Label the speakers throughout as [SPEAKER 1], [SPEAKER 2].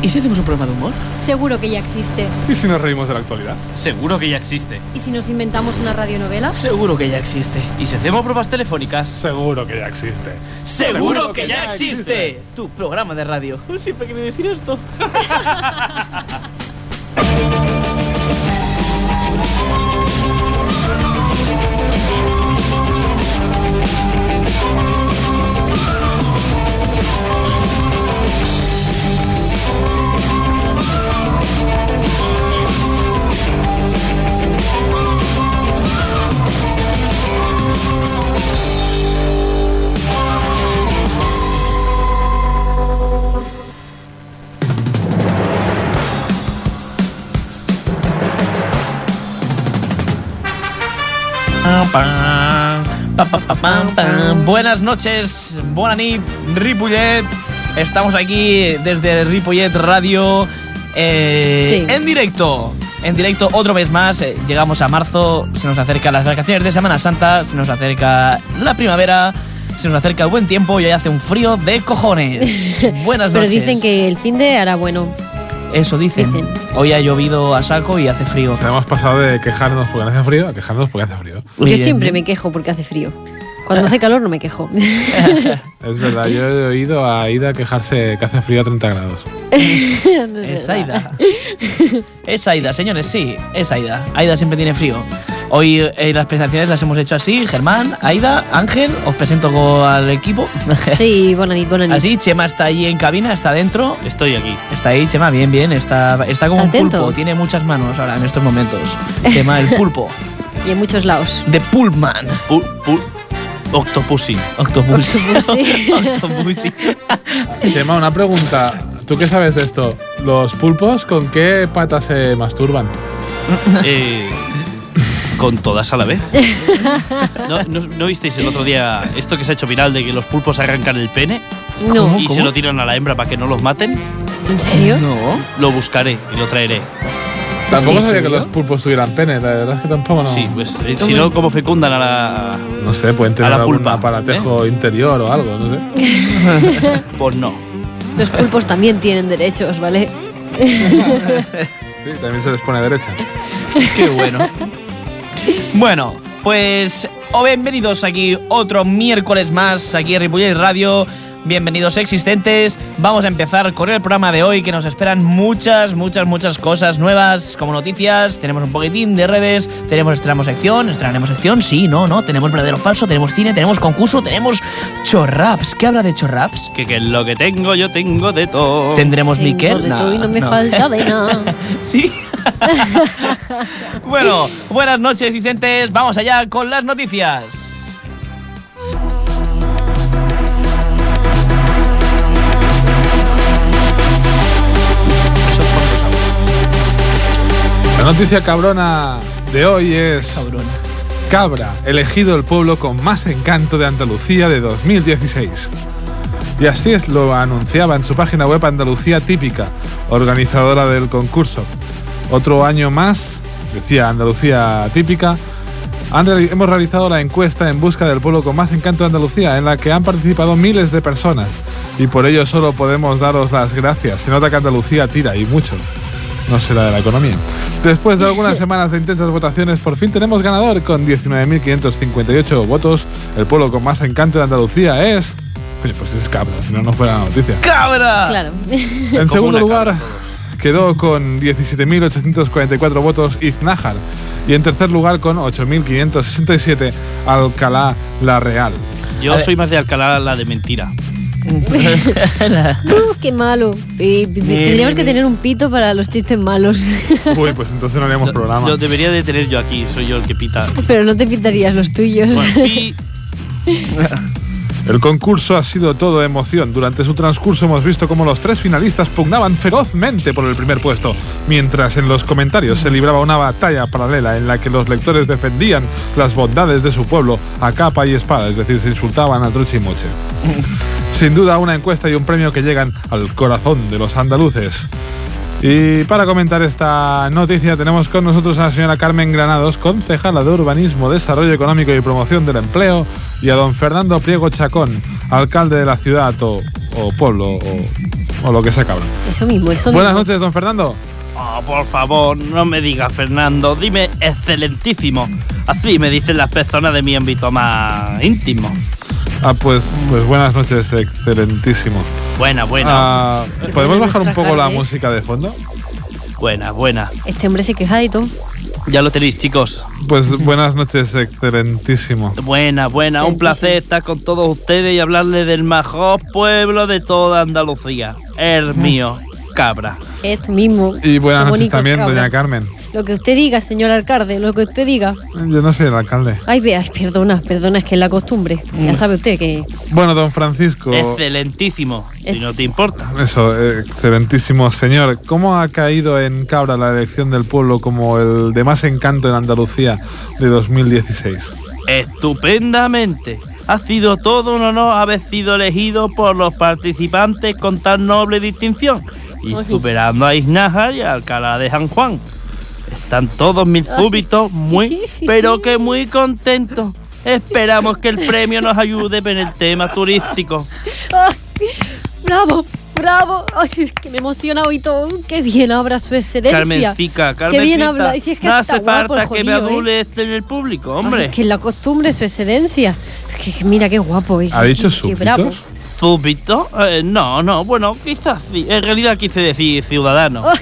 [SPEAKER 1] ¿Y si hacemos un programa de humor?
[SPEAKER 2] Seguro que ya existe.
[SPEAKER 3] ¿Y si nos reímos de la actualidad?
[SPEAKER 4] Seguro que ya existe.
[SPEAKER 2] ¿Y si nos inventamos una radionovela?
[SPEAKER 1] Seguro que ya existe.
[SPEAKER 4] ¿Y si hacemos pruebas telefónicas?
[SPEAKER 3] Seguro que ya existe.
[SPEAKER 4] ¡Seguro que ya existe!
[SPEAKER 1] Tu programa de radio. Siempre quería decir esto.
[SPEAKER 5] Pam, pam, pam, pam, pam. Buenas noches, buena nit, Ripollet. Estamos aquí desde Ripollet Radio eh,
[SPEAKER 2] Sí.
[SPEAKER 5] en directo. En directo otra vez más, Eh, llegamos a marzo, se nos acercan las vacaciones de Semana Santa, se nos acerca la primavera, se nos acerca el buen tiempo y hoy hace un frío de cojones. Buenas
[SPEAKER 2] Pero
[SPEAKER 5] noches.
[SPEAKER 2] dicen que el fin de hará bueno.
[SPEAKER 5] Eso dicen.
[SPEAKER 2] dicen.
[SPEAKER 5] Hoy ha llovido a saco y hace frío.
[SPEAKER 3] Nos hemos pasado de quejarnos porque hace frío a quejarnos porque hace frío.
[SPEAKER 2] Yo siempre me quejo porque hace frío. Cuando hace calor no me quejo.
[SPEAKER 3] Es verdad, yo he oído a Ida quejarse que hace frío a 30 grados.
[SPEAKER 5] Es Aida. Es Aida, señores, sí, es Aida. Aida siempre tiene frío. Hoy eh, las presentaciones las hemos hecho así, Germán, Aida, Ángel, os presento co- al equipo.
[SPEAKER 2] Sí, buena nit, buena nit.
[SPEAKER 5] así, Chema está ahí en cabina, está dentro.
[SPEAKER 4] Estoy aquí.
[SPEAKER 5] Está ahí, Chema, bien, bien, está, está como
[SPEAKER 2] Está
[SPEAKER 5] un
[SPEAKER 2] atento.
[SPEAKER 5] pulpo, tiene muchas manos ahora en estos momentos. Chema, el pulpo,
[SPEAKER 2] Y en muchos lados.
[SPEAKER 5] de Pullman.
[SPEAKER 4] Pu pu Octopussy.
[SPEAKER 5] Octopus.
[SPEAKER 2] Octopussy.
[SPEAKER 5] Octopussy.
[SPEAKER 3] Chema, una pregunta. ¿Tú qué sabes de esto? ¿Los pulpos con qué patas se masturban?
[SPEAKER 4] Eh, con todas a la vez. ¿No, no, no visteis el otro día esto que se ha hecho viral de que los pulpos arrancan el pene
[SPEAKER 2] No,
[SPEAKER 4] y se lo tiran a la hembra para que no los maten?
[SPEAKER 2] ¿en serio?
[SPEAKER 5] No.
[SPEAKER 4] Lo buscaré y lo traeré.
[SPEAKER 3] Tampoco
[SPEAKER 2] Sí,
[SPEAKER 3] sabía
[SPEAKER 2] sí,
[SPEAKER 3] que
[SPEAKER 2] ¿no?
[SPEAKER 3] los pulpos tuvieran pene, la verdad es que tampoco no.
[SPEAKER 4] Sí, pues eh, si no, ¿cómo fecundan a la...?
[SPEAKER 3] No sé, pueden tener
[SPEAKER 4] A la
[SPEAKER 3] algún
[SPEAKER 4] pulpa, ¿eh?
[SPEAKER 3] aparatejo interior o algo, no sé.
[SPEAKER 4] Pues no.
[SPEAKER 2] Los pulpos también tienen derechos, ¿vale?
[SPEAKER 3] Sí, también se les pone derecha.
[SPEAKER 5] Qué bueno. bueno, pues oh, bienvenidos aquí otro miércoles más aquí en Ripollet Radio. Bienvenidos existentes. Vamos a empezar con el programa de hoy que nos esperan muchas, muchas, muchas cosas nuevas como noticias. Tenemos un poquitín de redes, tenemos estrenamos sección, estrenaremos sección, sí, no, no, tenemos verdadero o falso, tenemos cine, tenemos concurso, tenemos chorraps. ¿Qué habla de chorraps?
[SPEAKER 4] Que, que lo que tengo yo tengo de todo.
[SPEAKER 5] Tendremos
[SPEAKER 2] Oh. Tengo
[SPEAKER 5] Miquel.
[SPEAKER 2] de todo y no me
[SPEAKER 5] no.
[SPEAKER 2] falta de nada.
[SPEAKER 5] Sí. bueno, buenas noches, Vicentes. Vamos allá con las noticias.
[SPEAKER 3] La noticia cabrona de hoy es
[SPEAKER 5] Cabrón.
[SPEAKER 3] Cabra, elegido el pueblo con más encanto de Andalucía de 2016. Y así es lo anunciaba en su página web Andalucía Típica, organizadora del concurso. Otro año más, decía Andalucía Típica, han reali- hemos realizado la encuesta en busca del pueblo con más encanto de Andalucía, en la que han participado miles de personas. Y por ello solo podemos daros las gracias. Se nota que Andalucía tira y mucho. No será de la economía. Después de algunas semanas de intensas votaciones, por fin tenemos ganador con 19.558 votos. El pueblo con más encanto de Andalucía es... Oye, pues es cabra, si no, no fuera la noticia.
[SPEAKER 5] ¡Cabra!
[SPEAKER 2] Claro.
[SPEAKER 3] En segundo
[SPEAKER 4] una
[SPEAKER 3] lugar, quedó con 17.844 votos Iznájar. Y en tercer lugar, con 8.567, Alcalá La Real.
[SPEAKER 4] Yo soy más de Alcalá la de mentira.
[SPEAKER 2] Uh, qué malo. Y tendríamos que tener un pito para los chistes malos.
[SPEAKER 3] Uy, pues entonces no haríamos
[SPEAKER 4] Lo,
[SPEAKER 3] programa.
[SPEAKER 4] lo debería de tener yo aquí, soy yo el que pita.
[SPEAKER 2] Pero no te pitarías los tuyos.
[SPEAKER 4] Bueno, pi-
[SPEAKER 3] El concurso ha sido todo emoción. Durante su transcurso hemos visto cómo los tres finalistas pugnaban ferozmente por el primer puesto, mientras en los comentarios se libraba una batalla paralela en la que los lectores defendían las bondades de su pueblo a capa y espada, es decir, se insultaban a trucha y moche. Sin duda, una encuesta y un premio que llegan al corazón de los andaluces. Y para comentar esta noticia tenemos con nosotros a la señora Carmen Granados, concejala de Urbanismo, Desarrollo Económico y Promoción del Empleo, y a don Fernando Pliego Chacón, alcalde de la ciudad o, o pueblo o o lo que sea, cabrón.
[SPEAKER 2] Eso mismo, eso
[SPEAKER 3] Buenas
[SPEAKER 2] mismo.
[SPEAKER 3] noches, don Fernando.
[SPEAKER 4] Oh, por favor, no me digas, Fernando. Dime excelentísimo. Así me dicen las personas de mi ámbito más íntimo.
[SPEAKER 3] Ah, pues, pues buenas noches, excelentísimo.
[SPEAKER 4] Buena, buena,
[SPEAKER 3] Ah,
[SPEAKER 2] Que
[SPEAKER 3] ¿Podemos
[SPEAKER 2] pueden
[SPEAKER 3] bajar un poco la
[SPEAKER 2] machacar, ¿eh?
[SPEAKER 3] música de fondo?
[SPEAKER 4] buena, buena.
[SPEAKER 2] Este hombre se queja de todo.
[SPEAKER 4] Ya lo tenéis, chicos.
[SPEAKER 3] Pues buenas noches, excelentísimo.
[SPEAKER 4] Buena, buena. Un placer estar con todos ustedes y hablarles del mejor pueblo de toda Andalucía. El mío, Cabra.
[SPEAKER 2] Este mismo.
[SPEAKER 3] Y buenas
[SPEAKER 2] Qué
[SPEAKER 3] noches
[SPEAKER 2] bonito,
[SPEAKER 3] también,
[SPEAKER 2] cabra.
[SPEAKER 3] doña Carmen.
[SPEAKER 2] Lo que usted diga, señor alcalde, lo que usted diga.
[SPEAKER 3] Yo no soy el alcalde.
[SPEAKER 2] Ay, ve, ay, perdona, perdona, es que es la costumbre.
[SPEAKER 3] Mm.
[SPEAKER 2] Ya sabe usted que.
[SPEAKER 3] Bueno, don Francisco.
[SPEAKER 4] Excelentísimo. Si
[SPEAKER 2] Es-
[SPEAKER 4] no te importa.
[SPEAKER 3] Eso, eh, excelentísimo señor. ¿Cómo ha caído en cabra la elección del pueblo como el de más encanto en Andalucía de 2016?
[SPEAKER 4] Estupendamente. Ha sido todo un honor haber sido elegido por los participantes con tan noble distinción y
[SPEAKER 2] Oye.
[SPEAKER 4] superando a Iznájar y a Alcalá de San Juan. Están todos mis súbitos muy, pero que muy contentos. Esperamos que el premio nos ayude en el tema turístico.
[SPEAKER 2] ¡Ah! ¡Bravo! ¡Bravo! Ay, es que me emociona hoy todo. ¡Qué bien habla su excelencia!
[SPEAKER 4] Carmencita,
[SPEAKER 2] ¡Qué bien
[SPEAKER 4] Carmencita,
[SPEAKER 2] habla! Y si es que
[SPEAKER 4] no
[SPEAKER 2] está
[SPEAKER 4] hace
[SPEAKER 2] guapo el
[SPEAKER 4] falta que me
[SPEAKER 2] jodido, ¿eh?
[SPEAKER 4] adule este en el público, hombre.
[SPEAKER 2] Ay, es que la costumbre es su excelencia. Es que- que mira qué guapo es.
[SPEAKER 3] ¿Ha dicho
[SPEAKER 2] Qué bravo.
[SPEAKER 3] súbitos?
[SPEAKER 4] ¿Súbito? Eh, no, no, bueno, quizás sí. En realidad quise decir ciudadano.
[SPEAKER 2] Ay,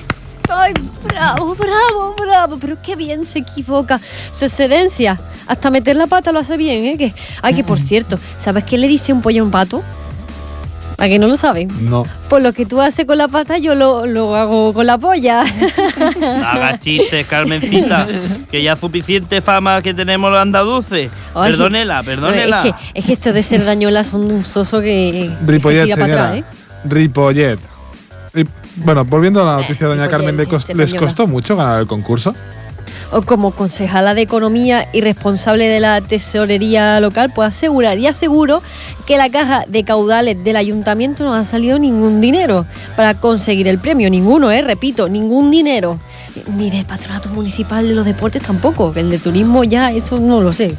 [SPEAKER 2] ay, bravo, bravo, bravo. Pero qué bien se equivoca. Su excedencia. Hasta meter la pata lo hace bien, ¿eh? Que, ay, que por cierto, ¿sabes qué le dice un pollo a un pato? ¿A que no lo saben?
[SPEAKER 3] No.
[SPEAKER 2] Por lo que tú haces con la pata, yo lo, lo hago con la polla.
[SPEAKER 4] No Haga chistes, Carmencita, que ya suficiente fama que tenemos los andaluces.
[SPEAKER 2] Ay,
[SPEAKER 4] perdónela, perdónela.
[SPEAKER 2] Es que, es que esto de ser dañola son un soso que, que
[SPEAKER 3] Ripollet,
[SPEAKER 2] tira para
[SPEAKER 3] señora.
[SPEAKER 2] atrás, ¿eh? Eh,
[SPEAKER 3] Ripollet. Y, bueno, volviendo a la noticia, doña
[SPEAKER 2] Ripollet,
[SPEAKER 3] Carmen, ¿le cos-
[SPEAKER 2] este
[SPEAKER 3] ¿les
[SPEAKER 2] pañuelo.
[SPEAKER 3] costó mucho ganar el concurso?
[SPEAKER 2] Eh, O como concejala de Economía y responsable de la tesorería local, pues aseguraría seguro que la caja de caudales del ayuntamiento no ha salido ningún dinero para conseguir el premio. Ninguno, ¿eh? Repito, ningún dinero. Ni del patronato municipal de los deportes tampoco. que El de turismo ya, esto no lo sé.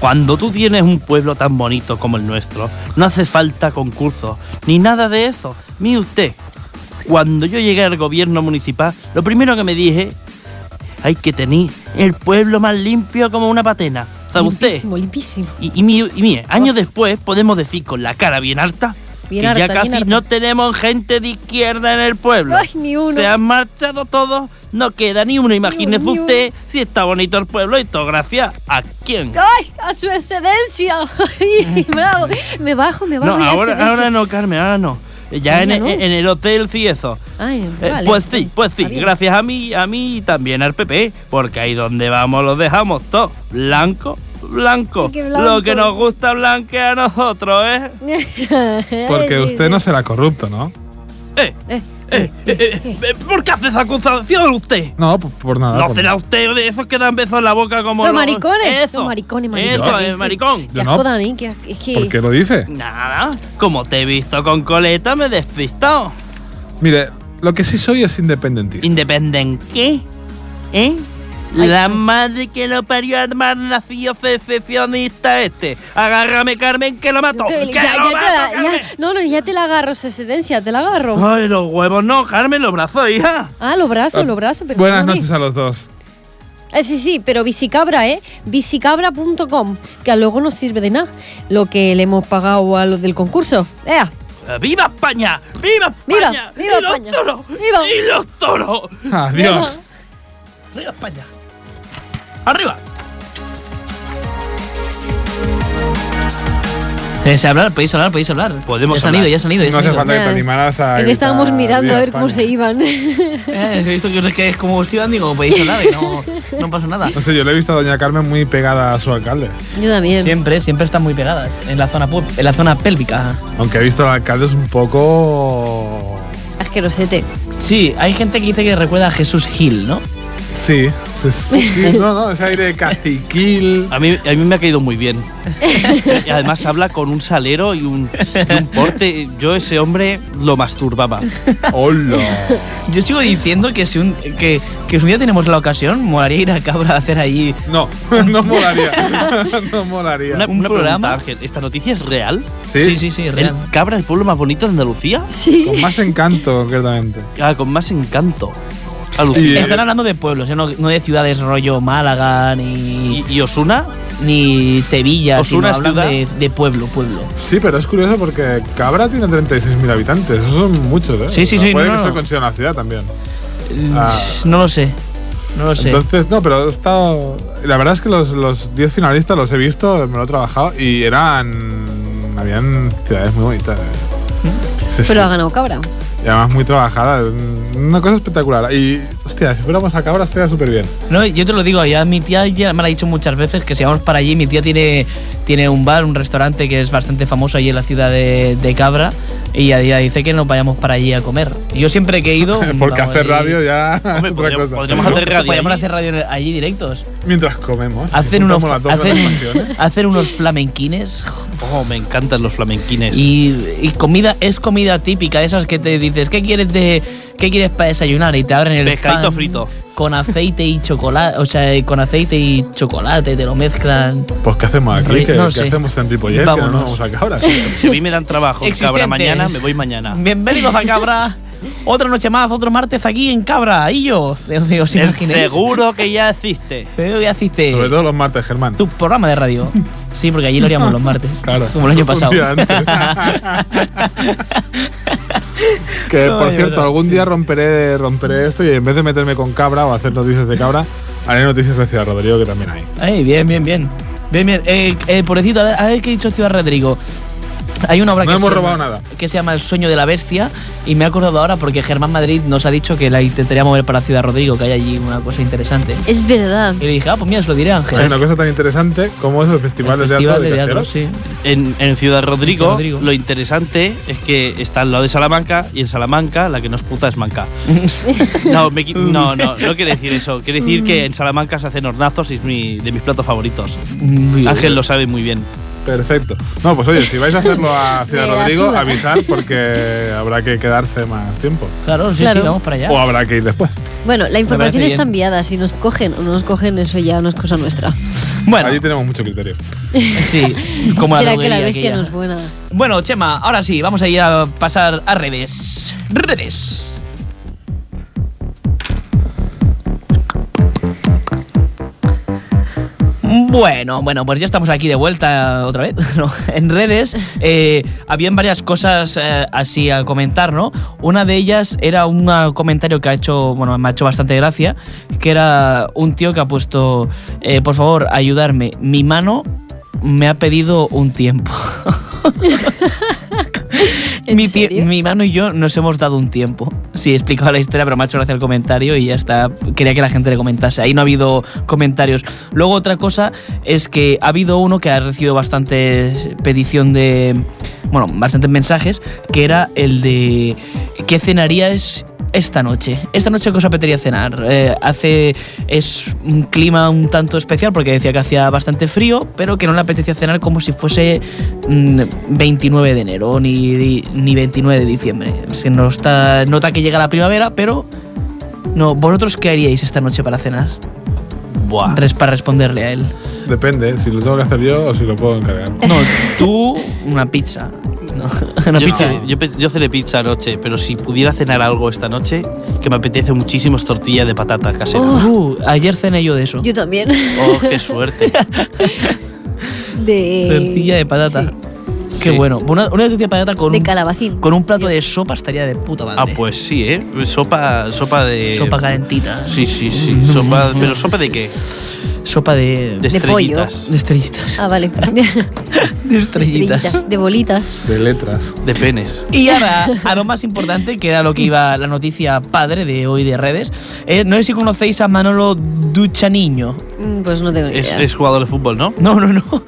[SPEAKER 4] Cuando tú tienes un pueblo tan bonito como el nuestro, no hace falta concursos, ni nada de eso. Mire usted, cuando yo llegué al gobierno municipal, lo primero que me dije, hay que tener el pueblo más limpio como una patena. ¿Sabe usted?
[SPEAKER 2] Limpísimo, limpísimo.
[SPEAKER 4] Y, y mi- y mire, años después podemos decir con la cara bien alta
[SPEAKER 2] Bien
[SPEAKER 4] que ya
[SPEAKER 2] harta,
[SPEAKER 4] casi
[SPEAKER 2] bien harta.
[SPEAKER 4] no tenemos gente de izquierda en el pueblo.
[SPEAKER 2] Ay, ni uno.
[SPEAKER 4] Se han marchado todos, no queda ni uno. Imagínese
[SPEAKER 2] ni uno.
[SPEAKER 4] usted si está bonito el pueblo y todo gracias a quién.
[SPEAKER 2] ¡Ay! ¡A su excedencia! ¡Ay, ¡Bravo! Me bajo, me
[SPEAKER 4] No,
[SPEAKER 2] bajo. y a
[SPEAKER 4] ahora,
[SPEAKER 2] excedencia.
[SPEAKER 4] ahora no, Carmen, ahora no. Eh, Ya
[SPEAKER 2] Ahora
[SPEAKER 4] en,
[SPEAKER 2] no.
[SPEAKER 4] en el hotel sí eso.
[SPEAKER 2] Ay,
[SPEAKER 4] Eh,
[SPEAKER 2] vale,
[SPEAKER 4] pues sí, pues sí,
[SPEAKER 2] está bien.
[SPEAKER 4] gracias a mí, a mí y también al PP, porque ahí donde vamos los dejamos todos, blanco, blanco,
[SPEAKER 2] Qué
[SPEAKER 4] lo que
[SPEAKER 2] blanco.
[SPEAKER 4] nos gusta blanquear a nosotros, ¿eh?
[SPEAKER 3] Porque
[SPEAKER 2] Ay,
[SPEAKER 3] usted no será corrupto, ¿no?
[SPEAKER 4] Eh,
[SPEAKER 2] Eh,
[SPEAKER 4] eh, eh, eh, eh, ¿Por qué hace esa acusación
[SPEAKER 3] Ah,
[SPEAKER 4] usted?
[SPEAKER 3] pues No, por, por nada.
[SPEAKER 4] No
[SPEAKER 3] por-
[SPEAKER 4] será usted de esos que dan besos en la boca como
[SPEAKER 2] Los maricones,
[SPEAKER 4] Eso,
[SPEAKER 2] los maricones,
[SPEAKER 4] Eso,
[SPEAKER 2] maricones.
[SPEAKER 4] el maricón.
[SPEAKER 2] Qué
[SPEAKER 3] Yo
[SPEAKER 2] asco,
[SPEAKER 3] no.
[SPEAKER 2] Dani, ¿eh? que es que...
[SPEAKER 3] ¿Por qué lo dice?
[SPEAKER 4] Nada, como te he visto con coleta me he despistado.
[SPEAKER 3] Mire, lo que sí soy es independentista.
[SPEAKER 4] ¿Independen qué? ¿Eh?
[SPEAKER 2] Ay,
[SPEAKER 4] La
[SPEAKER 2] ay.
[SPEAKER 4] madre que lo parió a armar nacido seccionista este. Agárrame, Carmen, que lo mato.
[SPEAKER 2] Ya,
[SPEAKER 4] ¡Que
[SPEAKER 2] ya
[SPEAKER 4] lo
[SPEAKER 2] te
[SPEAKER 4] mato,
[SPEAKER 2] la-
[SPEAKER 4] Carmen!
[SPEAKER 2] ya- no, no, ya te la agarro, su excedencia, te la agarro.
[SPEAKER 4] Ay, los huevos no, Carmen, los brazos, hija.
[SPEAKER 2] Ah, los brazos,
[SPEAKER 3] Ah,
[SPEAKER 2] los brazos. Pero
[SPEAKER 3] Buenas
[SPEAKER 2] perdóname.
[SPEAKER 3] noches a los dos.
[SPEAKER 2] Eh, sí, sí, pero bicicabra, ¿eh? Bicicabra.com, que luego no sirve de nada lo que le hemos pagado a los del concurso. ¡Ea!
[SPEAKER 4] ¡Viva España! ¡Viva
[SPEAKER 2] Viva,
[SPEAKER 4] España!
[SPEAKER 2] viva
[SPEAKER 4] ¡Y los
[SPEAKER 2] España.
[SPEAKER 4] toros!
[SPEAKER 2] Viva.
[SPEAKER 4] ¡Y los toros!
[SPEAKER 3] Adiós.
[SPEAKER 4] ¡Arriba España! ¡Arriba!
[SPEAKER 5] Eh, se hablar, podéis hablar, podéis hablar.
[SPEAKER 4] Podemos
[SPEAKER 5] ya se han
[SPEAKER 4] hablar.
[SPEAKER 5] ido, ya se han ido. ya se
[SPEAKER 3] No hace
[SPEAKER 5] han ido.
[SPEAKER 3] falta que te
[SPEAKER 2] Nada.
[SPEAKER 3] animaras a.
[SPEAKER 2] Es que estábamos
[SPEAKER 3] gritar,
[SPEAKER 2] mirando
[SPEAKER 3] "Viva
[SPEAKER 2] a ver cómo
[SPEAKER 3] España".
[SPEAKER 2] se iban.
[SPEAKER 5] Eh, he visto que os quedáis como os iban, digo, podéis hablar y no, no pasa nada.
[SPEAKER 3] No sé, yo le he visto a doña Carmen muy pegada a su alcalde.
[SPEAKER 2] Yo también.
[SPEAKER 5] Siempre, siempre están muy pegadas en la zona pub- en la zona pélvica.
[SPEAKER 3] Aunque he visto al alcalde es un poco.
[SPEAKER 2] Asquerosete.
[SPEAKER 5] Sí, hay gente que dice que recuerda a Jesús Gil, ¿no?
[SPEAKER 3] Sí, Es- No, no, ese aire de caciquil.
[SPEAKER 4] A mí, a mí me ha caído muy bien. Y además habla con un salero y un, y un porte. Yo ese hombre lo masturbaba.
[SPEAKER 3] ¡Hola!
[SPEAKER 5] Yo sigo diciendo que si un, que, que si un día tenemos la ocasión, molaría ir a Cabra a hacer allí.
[SPEAKER 3] No, no molaría. No molaría.
[SPEAKER 4] Una,
[SPEAKER 5] ¿Un
[SPEAKER 4] una pregunta,
[SPEAKER 5] programa?
[SPEAKER 4] Ángel. ¿Esta noticia es real?
[SPEAKER 3] Sí,
[SPEAKER 5] sí, sí, sí,
[SPEAKER 4] ¿El
[SPEAKER 5] real.
[SPEAKER 4] Cabra, el pueblo más bonito de Andalucía?
[SPEAKER 2] Sí.
[SPEAKER 3] Con más encanto, concretamente.
[SPEAKER 4] Ah, con más encanto. Alucina.
[SPEAKER 3] Y- eh,
[SPEAKER 5] Están hablando de pueblos, ya no, no de ciudades rollo Málaga ni,
[SPEAKER 4] ¿Y, y Osuna?
[SPEAKER 5] ni Sevilla, sino
[SPEAKER 4] ¿Osuna es
[SPEAKER 5] hablan
[SPEAKER 4] ciudad?
[SPEAKER 5] de, de pueblo, pueblo.
[SPEAKER 3] Sí, pero es curioso porque Cabra tiene 36.000 habitantes. Esos son muchos, ¿eh?
[SPEAKER 5] Sí, sí,
[SPEAKER 3] O sea,
[SPEAKER 5] sí,
[SPEAKER 3] Puede
[SPEAKER 5] no,
[SPEAKER 3] que
[SPEAKER 5] no.
[SPEAKER 3] se considere una ciudad también. Ah.
[SPEAKER 5] Ah, No lo sé, no lo sé.
[SPEAKER 3] Entonces, no, pero he estado. La verdad es que los los 10 finalistas los he visto, me lo he trabajado y eran. Habían ciudades muy bonitas. ¿eh?
[SPEAKER 5] Mm.
[SPEAKER 3] Sí, sí.
[SPEAKER 2] Pero ha ganado cabra.
[SPEAKER 3] Y además muy trabajada. Una cosa espectacular. Y, hostia, si fuéramos a Cabra estaría súper bien.
[SPEAKER 5] No, yo te lo digo, ya mi tía ya me lo ha dicho muchas veces que si vamos para allí, mi tía tiene, tiene un bar, un restaurante que es bastante famoso allí en la ciudad de, de Cabra y a día dice que nos vayamos para allí a comer. Yo siempre que he ido...
[SPEAKER 3] Porque
[SPEAKER 5] Mm, vamos, eh,
[SPEAKER 3] hacer
[SPEAKER 5] y-
[SPEAKER 3] radio ya es
[SPEAKER 4] Hombre,
[SPEAKER 3] otra
[SPEAKER 4] podríamos-
[SPEAKER 3] cosa.
[SPEAKER 4] podríamos hacer radio
[SPEAKER 5] Podríamos
[SPEAKER 4] allí.
[SPEAKER 5] hacer radio allí directos.
[SPEAKER 3] Mientras comemos.
[SPEAKER 5] Hacen unos,
[SPEAKER 3] juntamos las dos
[SPEAKER 5] hacen-
[SPEAKER 3] relaciones.
[SPEAKER 5] hacen unos flamenquines
[SPEAKER 4] Oh, me encantan los flamenquines.
[SPEAKER 5] y, y comida es comida típica de esas que te dices qué quieres de qué quieres para desayunar y te abren el
[SPEAKER 4] Pescadito
[SPEAKER 5] pan
[SPEAKER 4] frito.
[SPEAKER 5] con aceite y chocolate o sea eh, con aceite y chocolate te lo mezclan
[SPEAKER 3] Pues, ¿qué hacemos aquí?
[SPEAKER 5] Re-
[SPEAKER 3] ¿Qué,
[SPEAKER 5] no
[SPEAKER 3] qué
[SPEAKER 5] sé.
[SPEAKER 3] hacemos en Ripollet? Que no nos
[SPEAKER 5] Vámonos.
[SPEAKER 3] vamos a Cabra.
[SPEAKER 4] Si a mí me dan trabajo, Cabra
[SPEAKER 5] Existentes.
[SPEAKER 4] mañana, me voy mañana.
[SPEAKER 5] bienvenidos a Cabra otra noche más otro martes aquí en Cabra y yo os
[SPEAKER 4] El
[SPEAKER 5] imagináis
[SPEAKER 4] seguro que ya existe.
[SPEAKER 5] Pero hoy asiste
[SPEAKER 3] Sobre todo los martes, Germán.
[SPEAKER 5] tu programa de radio sí porque allí lo haríamos los martes
[SPEAKER 3] Claro.
[SPEAKER 5] como el año
[SPEAKER 3] Un
[SPEAKER 5] pasado
[SPEAKER 3] día antes. que por
[SPEAKER 5] Ay,
[SPEAKER 3] cierto,
[SPEAKER 5] verdad.
[SPEAKER 3] algún día romperé, romperé esto y en vez de meterme con cabra o hacer noticias de cabra, haré noticias de Ciudad Rodrigo que también hay.
[SPEAKER 5] Ay, bien, bien, bien. Bien, bien. Eh, eh, pobrecito, a ver- a ver qué ha dicho Ciudad Rodrigo. Hay una obra
[SPEAKER 3] No
[SPEAKER 5] que,
[SPEAKER 3] hemos
[SPEAKER 5] se
[SPEAKER 3] robado
[SPEAKER 5] llama,
[SPEAKER 3] nada.
[SPEAKER 5] que se llama El sueño de la bestia y me he acordado ahora porque Germán Madrid nos ha dicho que la intentaría mover para Ciudad Rodrigo, que hay allí una cosa interesante.
[SPEAKER 2] Es verdad.
[SPEAKER 5] Y le dije, ah, pues mira, se lo diré a Ángel.
[SPEAKER 3] Hay una cosa tan interesante como es el Festival,
[SPEAKER 5] El
[SPEAKER 3] de Teatro
[SPEAKER 5] Festival
[SPEAKER 3] de,
[SPEAKER 5] de teatro,
[SPEAKER 3] Caseros.
[SPEAKER 5] sí.
[SPEAKER 4] En, en Ciudad Rodrigo,
[SPEAKER 5] Ciudad Rodrigo.
[SPEAKER 4] lo interesante es que está al lado de Salamanca y en Salamanca la que nos puta es manca. No, me qui- no, no, no quiere decir eso. Quiere decir que en Salamanca se hacen hornazos y es mi, de mis platos favoritos.
[SPEAKER 5] Muy
[SPEAKER 4] Ángel
[SPEAKER 5] bien.
[SPEAKER 4] lo sabe muy bien.
[SPEAKER 3] Perfecto. No, pues oye, si vais a hacerlo a Ciudad
[SPEAKER 2] Me la
[SPEAKER 3] Rodrigo,
[SPEAKER 2] suda.
[SPEAKER 3] avisar porque habrá que quedarse más tiempo.
[SPEAKER 5] Claro, sí,
[SPEAKER 2] Claro.
[SPEAKER 5] sí, vamos para allá.
[SPEAKER 3] O habrá que ir después.
[SPEAKER 2] Bueno, la información
[SPEAKER 5] parece
[SPEAKER 2] está
[SPEAKER 5] bien.
[SPEAKER 2] enviada. Si nos cogen o no nos cogen, eso ya no es cosa nuestra.
[SPEAKER 5] Bueno,
[SPEAKER 3] Allí tenemos mucho criterio.
[SPEAKER 5] sí. Como
[SPEAKER 2] Será que la
[SPEAKER 5] droguería
[SPEAKER 2] bestia
[SPEAKER 5] aquella.
[SPEAKER 2] no es buena.
[SPEAKER 5] Bueno, Chema, ahora sí, vamos a ir a pasar a redes. Redes. Bueno, bueno, pues ya estamos aquí de vuelta otra vez, ¿no? En redes eh, habían varias cosas eh, así a comentar, ¿no? Una de ellas era un comentario que ha hecho, bueno, me ha hecho bastante gracia, que era un tío que ha puesto, eh, por favor, ayudarme, mi mano me ha pedido un tiempo.
[SPEAKER 2] ¿En
[SPEAKER 5] mi, tie-
[SPEAKER 2] serio?
[SPEAKER 5] mi mano y yo nos hemos dado un tiempo. Sí, he explicado la historia, pero me ha hecho gracia el comentario y ya está. Quería que la gente le comentase. Ahí no ha habido comentarios. Luego, otra cosa es que ha habido uno que ha recibido bastante petición de. Bueno, bastantes mensajes, que era el de. ¿Qué cenarías esta noche? Esta noche, ¿qué os apetecería cenar? Eh, hace. Es un clima un tanto especial porque decía que hacía bastante frío, pero que no le apetecía cenar como si fuese mm, 29 de enero ni, ni 29 de diciembre. Se nos está, nota que llega la primavera, pero. No, ¿vosotros qué haríais esta noche para cenar?
[SPEAKER 4] Buah.
[SPEAKER 5] Res- para responderle a él.
[SPEAKER 3] Depende, si lo tengo que hacer yo o si lo puedo encargar.
[SPEAKER 5] No, tú una pizza. No, una
[SPEAKER 4] Yo,
[SPEAKER 5] pizza.
[SPEAKER 4] ce- yo pe- yo cené pizza anoche, pero si pudiera cenar algo esta noche, que me apetece muchísimo es tortilla de patata casera.
[SPEAKER 2] Oh.
[SPEAKER 5] Uh, ayer cené yo de eso.
[SPEAKER 2] Yo también.
[SPEAKER 4] Oh, qué suerte.
[SPEAKER 2] De.
[SPEAKER 5] Tortilla de patata. Qué
[SPEAKER 4] Sí.
[SPEAKER 5] bueno. Una, una tortilla de patata con,
[SPEAKER 2] De
[SPEAKER 5] un-
[SPEAKER 2] calabacín.
[SPEAKER 5] con un plato de sopa estaría de puta madre.
[SPEAKER 4] Ah, pues sí, ¿eh? Sopa, sopa de.
[SPEAKER 5] Sopa Mm. calentita.
[SPEAKER 4] Sí, sí, sí. Sopa, ¿Pero sopa de qué?
[SPEAKER 5] Sopa de.
[SPEAKER 4] De
[SPEAKER 5] De,
[SPEAKER 2] De pollo.
[SPEAKER 4] estrellitas.
[SPEAKER 5] estrellitas.
[SPEAKER 2] Ah, vale.
[SPEAKER 5] De estrellitas.
[SPEAKER 2] Estrellitas, De bolitas.
[SPEAKER 3] De letras.
[SPEAKER 4] De penes.
[SPEAKER 5] Y ahora, a lo más importante, que era lo que iba la noticia padre de hoy de redes. Eh, no sé si conocéis a Manolo Duchaniño.
[SPEAKER 2] Mm, Pues no tengo ni
[SPEAKER 4] Es,
[SPEAKER 2] idea.
[SPEAKER 4] es jugador de fútbol, ¿no?
[SPEAKER 5] No, no, no.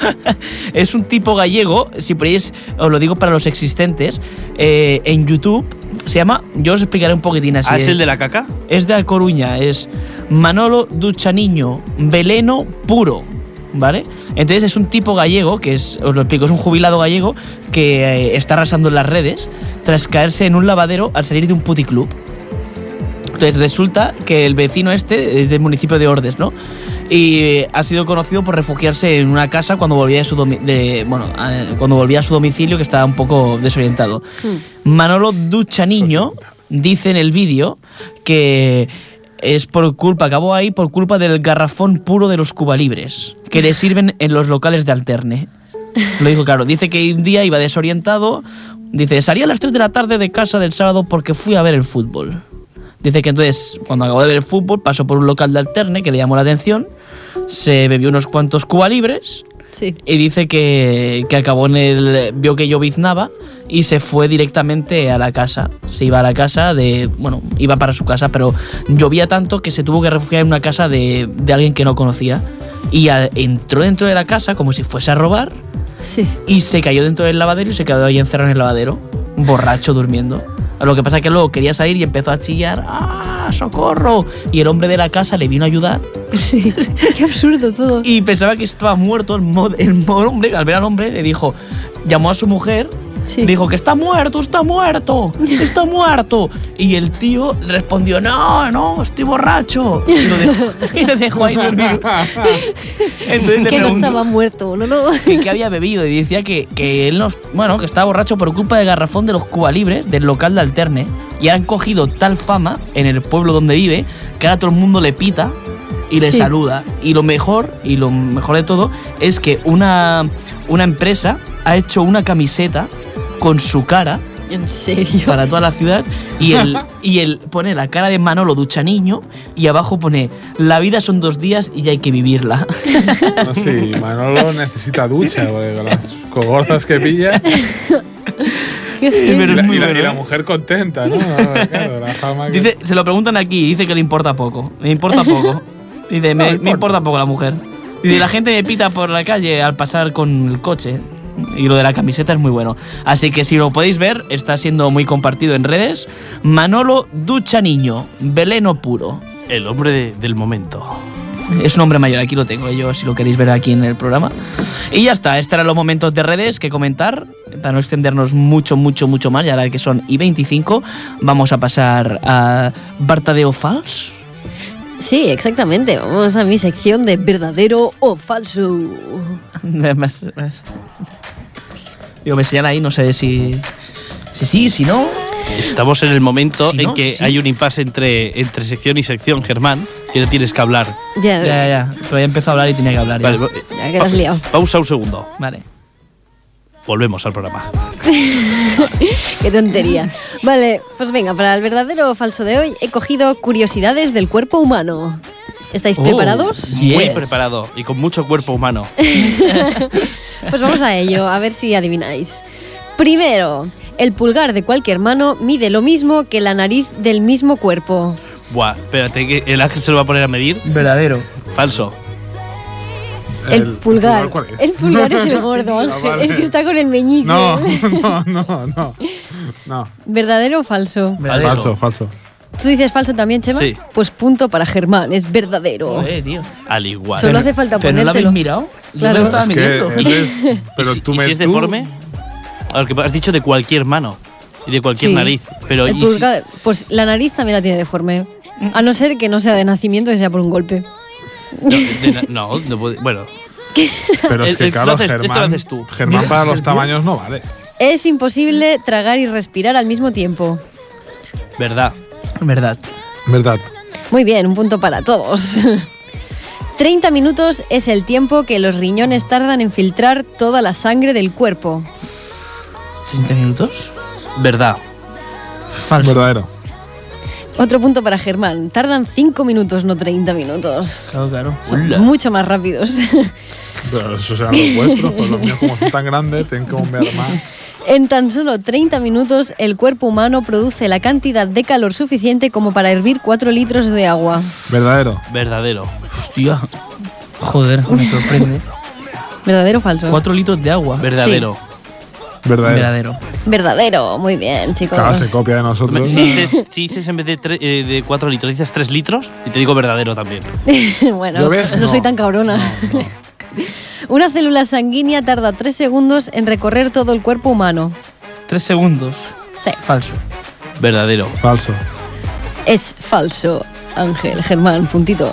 [SPEAKER 5] es un tipo gallego. Si podéis, os lo digo para los existentes. eh, en YouTube Se llama, yo os explicaré un poquitín así.
[SPEAKER 4] Ah, ¿Es el de la caca?
[SPEAKER 5] es de A Coruña, es Manolo Duchaniño, veleno puro, ¿vale? Entonces es un tipo gallego, que es, os lo explico, es un jubilado gallego que eh, está arrasando en las redes tras caerse en un lavadero al salir de un puticlub. Entonces resulta que el vecino este es del municipio de Ordes, ¿no? Y eh, ha sido conocido por refugiarse en una casa cuando volvía de su domi- de- bueno, eh, cuando volvía a su domicilio que estaba un poco desorientado.
[SPEAKER 2] Mm,
[SPEAKER 5] Manolo Duchaniño dice en el vídeo que es por culpa, acabó ahí por culpa del garrafón puro de los cubalibres que le sirven en los locales de alterne. Lo dijo claro. Dice que un día iba desorientado. Dice, salí a las 3 de la tarde de casa del sábado porque fui a ver el fútbol. Dice que entonces, cuando acabó de ver el fútbol, pasó por un local de alterne que le llamó la atención. Se bebió unos cuantos cubalibres
[SPEAKER 2] Sí.
[SPEAKER 5] y dice que, que acabó en el. vio que lloviznaba y se fue directamente a la casa. Se iba a la casa de. bueno, iba para su casa, pero llovía tanto que se tuvo que refugiar en una casa de, de alguien que no conocía. Y a- entró dentro de la casa como si fuese a robar
[SPEAKER 2] Sí.
[SPEAKER 5] y se cayó dentro del lavadero y se quedó ahí encerrado en el lavadero, borracho, durmiendo. Lo que pasa es que luego quería salir y empezó a chillar, ¡ah, socorro! Y el hombre de la casa le vino a ayudar
[SPEAKER 2] Sí. Qué absurdo todo.
[SPEAKER 5] y pensaba que estaba muerto el, mod- el mo- hombre. Al ver al hombre le dijo, llamó a su mujer,
[SPEAKER 2] Sí.
[SPEAKER 5] le dijo que está muerto, está muerto, está muerto. Y el tío respondió, no, no, estoy borracho. Y lo dejó, y lo dejó ahí dormir. Entonces le
[SPEAKER 2] que no
[SPEAKER 5] preguntó-
[SPEAKER 2] estaba muerto, no, no.
[SPEAKER 5] que, que había bebido y decía que, que él nos, bueno, que estaba borracho por culpa del garrafón de los cubalibres del local de Alterne y han cogido tal fama en el pueblo donde vive que ahora todo el mundo le pita y le
[SPEAKER 2] Sí.
[SPEAKER 5] saluda y lo mejor y lo mejor de todo es que una una empresa ha hecho una camiseta con su cara
[SPEAKER 2] En serio.
[SPEAKER 5] para toda la ciudad y él, y él pone la cara de Manolo Duchaniño y abajo pone la vida son dos días y hay que vivirla
[SPEAKER 3] No sé, Manolo necesita ducha, porque con las cogorzas que pilla.
[SPEAKER 2] Qué
[SPEAKER 3] Y
[SPEAKER 2] heavy.
[SPEAKER 3] la,
[SPEAKER 5] es muy
[SPEAKER 3] y la- y
[SPEAKER 5] bueno,
[SPEAKER 3] la
[SPEAKER 5] ¿eh?
[SPEAKER 3] mujer contenta, ¿no? Ah, Claro, la fama que-
[SPEAKER 5] Dice, se lo preguntan aquí y dice que le importa poco. Me importa poco. Dice, me, me importa. poco la mujer. Dice, la gente me pita por la calle al pasar con el coche. Y lo de la camiseta es muy bueno. Así que si lo podéis ver, está siendo muy compartido en redes. Manolo Ducha Niño, veleno puro.
[SPEAKER 4] El hombre de- del momento.
[SPEAKER 5] Es un hombre mayor, aquí lo tengo yo, si lo queréis ver aquí en el programa. Y ya está, estos eran los momentos de redes que comentar. Para no extendernos mucho, mucho, mucho más, ya la que son y 25, vamos a pasar a Bartadeo Fals.
[SPEAKER 2] Sí, exactamente. Vamos a mi sección de verdadero o falso.
[SPEAKER 5] Me- me- me- Digo, me señala ahí, no sé si. Si sí, si no.
[SPEAKER 4] Estamos en el momento
[SPEAKER 5] Si
[SPEAKER 4] en
[SPEAKER 5] no,
[SPEAKER 4] que
[SPEAKER 5] sí.
[SPEAKER 4] hay un impasse entre, entre sección y sección, Germán, que no tienes que hablar.
[SPEAKER 2] Ya,
[SPEAKER 5] Ya, ya, ya. Pero ya empezó a hablar y tenía que hablar. ya.
[SPEAKER 4] Vale, va-
[SPEAKER 2] ya que te has liado.
[SPEAKER 4] pausa un segundo.
[SPEAKER 5] Vale.
[SPEAKER 4] Volvemos al programa.
[SPEAKER 2] Qué tontería. Vale, pues venga, para el verdadero o falso de hoy he cogido curiosidades del cuerpo humano. ¿Estáis
[SPEAKER 5] Oh.
[SPEAKER 2] preparados?
[SPEAKER 4] Muy
[SPEAKER 5] Yes.
[SPEAKER 4] preparado y con mucho cuerpo humano.
[SPEAKER 2] Pues vamos a ello, a ver si adivináis. Primero, el pulgar de cualquier mano mide lo mismo que la nariz del mismo cuerpo.
[SPEAKER 4] Buah, espérate que el ángel se lo va a poner a medir.
[SPEAKER 5] Verdadero.
[SPEAKER 4] Falso.
[SPEAKER 2] El, pulgar.
[SPEAKER 3] cuál es?
[SPEAKER 2] El pulgar es el gordo,
[SPEAKER 3] Ah,
[SPEAKER 2] Ángel.
[SPEAKER 3] vale.
[SPEAKER 2] Es que está con el meñique.
[SPEAKER 3] No, no, no, no. No.
[SPEAKER 2] ¿Verdadero o falso?
[SPEAKER 5] Verdadero.
[SPEAKER 3] Falso, falso.
[SPEAKER 2] ¿Tú dices falso también, Chema?
[SPEAKER 4] Sí.
[SPEAKER 2] Pues punto para Germán, es verdadero.
[SPEAKER 5] Joder, tío.
[SPEAKER 4] Al igual.
[SPEAKER 2] Solo hace falta
[SPEAKER 5] ¿Pero no lo habéis
[SPEAKER 2] ponértelo.
[SPEAKER 5] mirado? Yo
[SPEAKER 2] Claro.
[SPEAKER 5] me lo estaba
[SPEAKER 3] Es que
[SPEAKER 5] midiendo.
[SPEAKER 3] eres- pero
[SPEAKER 4] ¿Y si,
[SPEAKER 3] tú
[SPEAKER 4] y
[SPEAKER 3] me
[SPEAKER 4] si es
[SPEAKER 3] tú-
[SPEAKER 4] deforme? A ver, que has dicho de cualquier mano y de cualquier
[SPEAKER 2] Sí.
[SPEAKER 4] nariz. Pero
[SPEAKER 2] El
[SPEAKER 4] ¿y si-
[SPEAKER 2] pulgar, pues la nariz también la tiene deforme. A no ser que no sea de nacimiento, que sea por un golpe.
[SPEAKER 4] no, de na- no, no puede- bueno.
[SPEAKER 3] Pero es
[SPEAKER 4] El-
[SPEAKER 3] que
[SPEAKER 4] el-
[SPEAKER 3] claro,
[SPEAKER 4] lo haces- esto lo
[SPEAKER 3] Germán,
[SPEAKER 4] haces tú.
[SPEAKER 3] Germán para los tamaños no vale.
[SPEAKER 2] Es imposible tragar y respirar al mismo tiempo.
[SPEAKER 4] Verdad.
[SPEAKER 5] Verdad.
[SPEAKER 3] Verdad.
[SPEAKER 2] Muy bien, un punto para todos. 30 minutos es el tiempo que los riñones tardan en filtrar toda la sangre del cuerpo.
[SPEAKER 5] 30 minutos.
[SPEAKER 4] Verdad.
[SPEAKER 5] Falso.
[SPEAKER 3] Verdadero.
[SPEAKER 2] Otro punto para Germán. Tardan 5 minutos, no 30 minutos.
[SPEAKER 5] Claro, claro.
[SPEAKER 2] Son mucho más rápidos.
[SPEAKER 3] Pero eso serán los vuestros, pues los míos como son tan grandes, tienen que bombear más.
[SPEAKER 2] En tan solo 30 minutos, el cuerpo humano produce la cantidad de calor suficiente como para hervir 4 litros de agua.
[SPEAKER 3] Verdadero.
[SPEAKER 4] Verdadero.
[SPEAKER 5] Hostia. Joder, me sorprende.
[SPEAKER 2] ¿Verdadero o falso?
[SPEAKER 5] 4 litros de agua.
[SPEAKER 4] Verdadero.
[SPEAKER 5] Verdadero.
[SPEAKER 2] Verdadero, muy bien, chicos.
[SPEAKER 3] Claro, se copia de nosotros.
[SPEAKER 4] Si dices, si dices en vez de, 4 litros, dices 3 litros y te digo verdadero también.
[SPEAKER 2] bueno,
[SPEAKER 3] ¿Lo ves?
[SPEAKER 2] no,
[SPEAKER 3] No.
[SPEAKER 2] soy tan cabrona. Una célula sanguínea tarda 3 segundos en recorrer todo el cuerpo humano.
[SPEAKER 5] Tres segundos.
[SPEAKER 2] Sí,
[SPEAKER 5] Falso.
[SPEAKER 4] Verdadero.
[SPEAKER 3] Falso.
[SPEAKER 2] es falso, Ángel, Germán, puntito.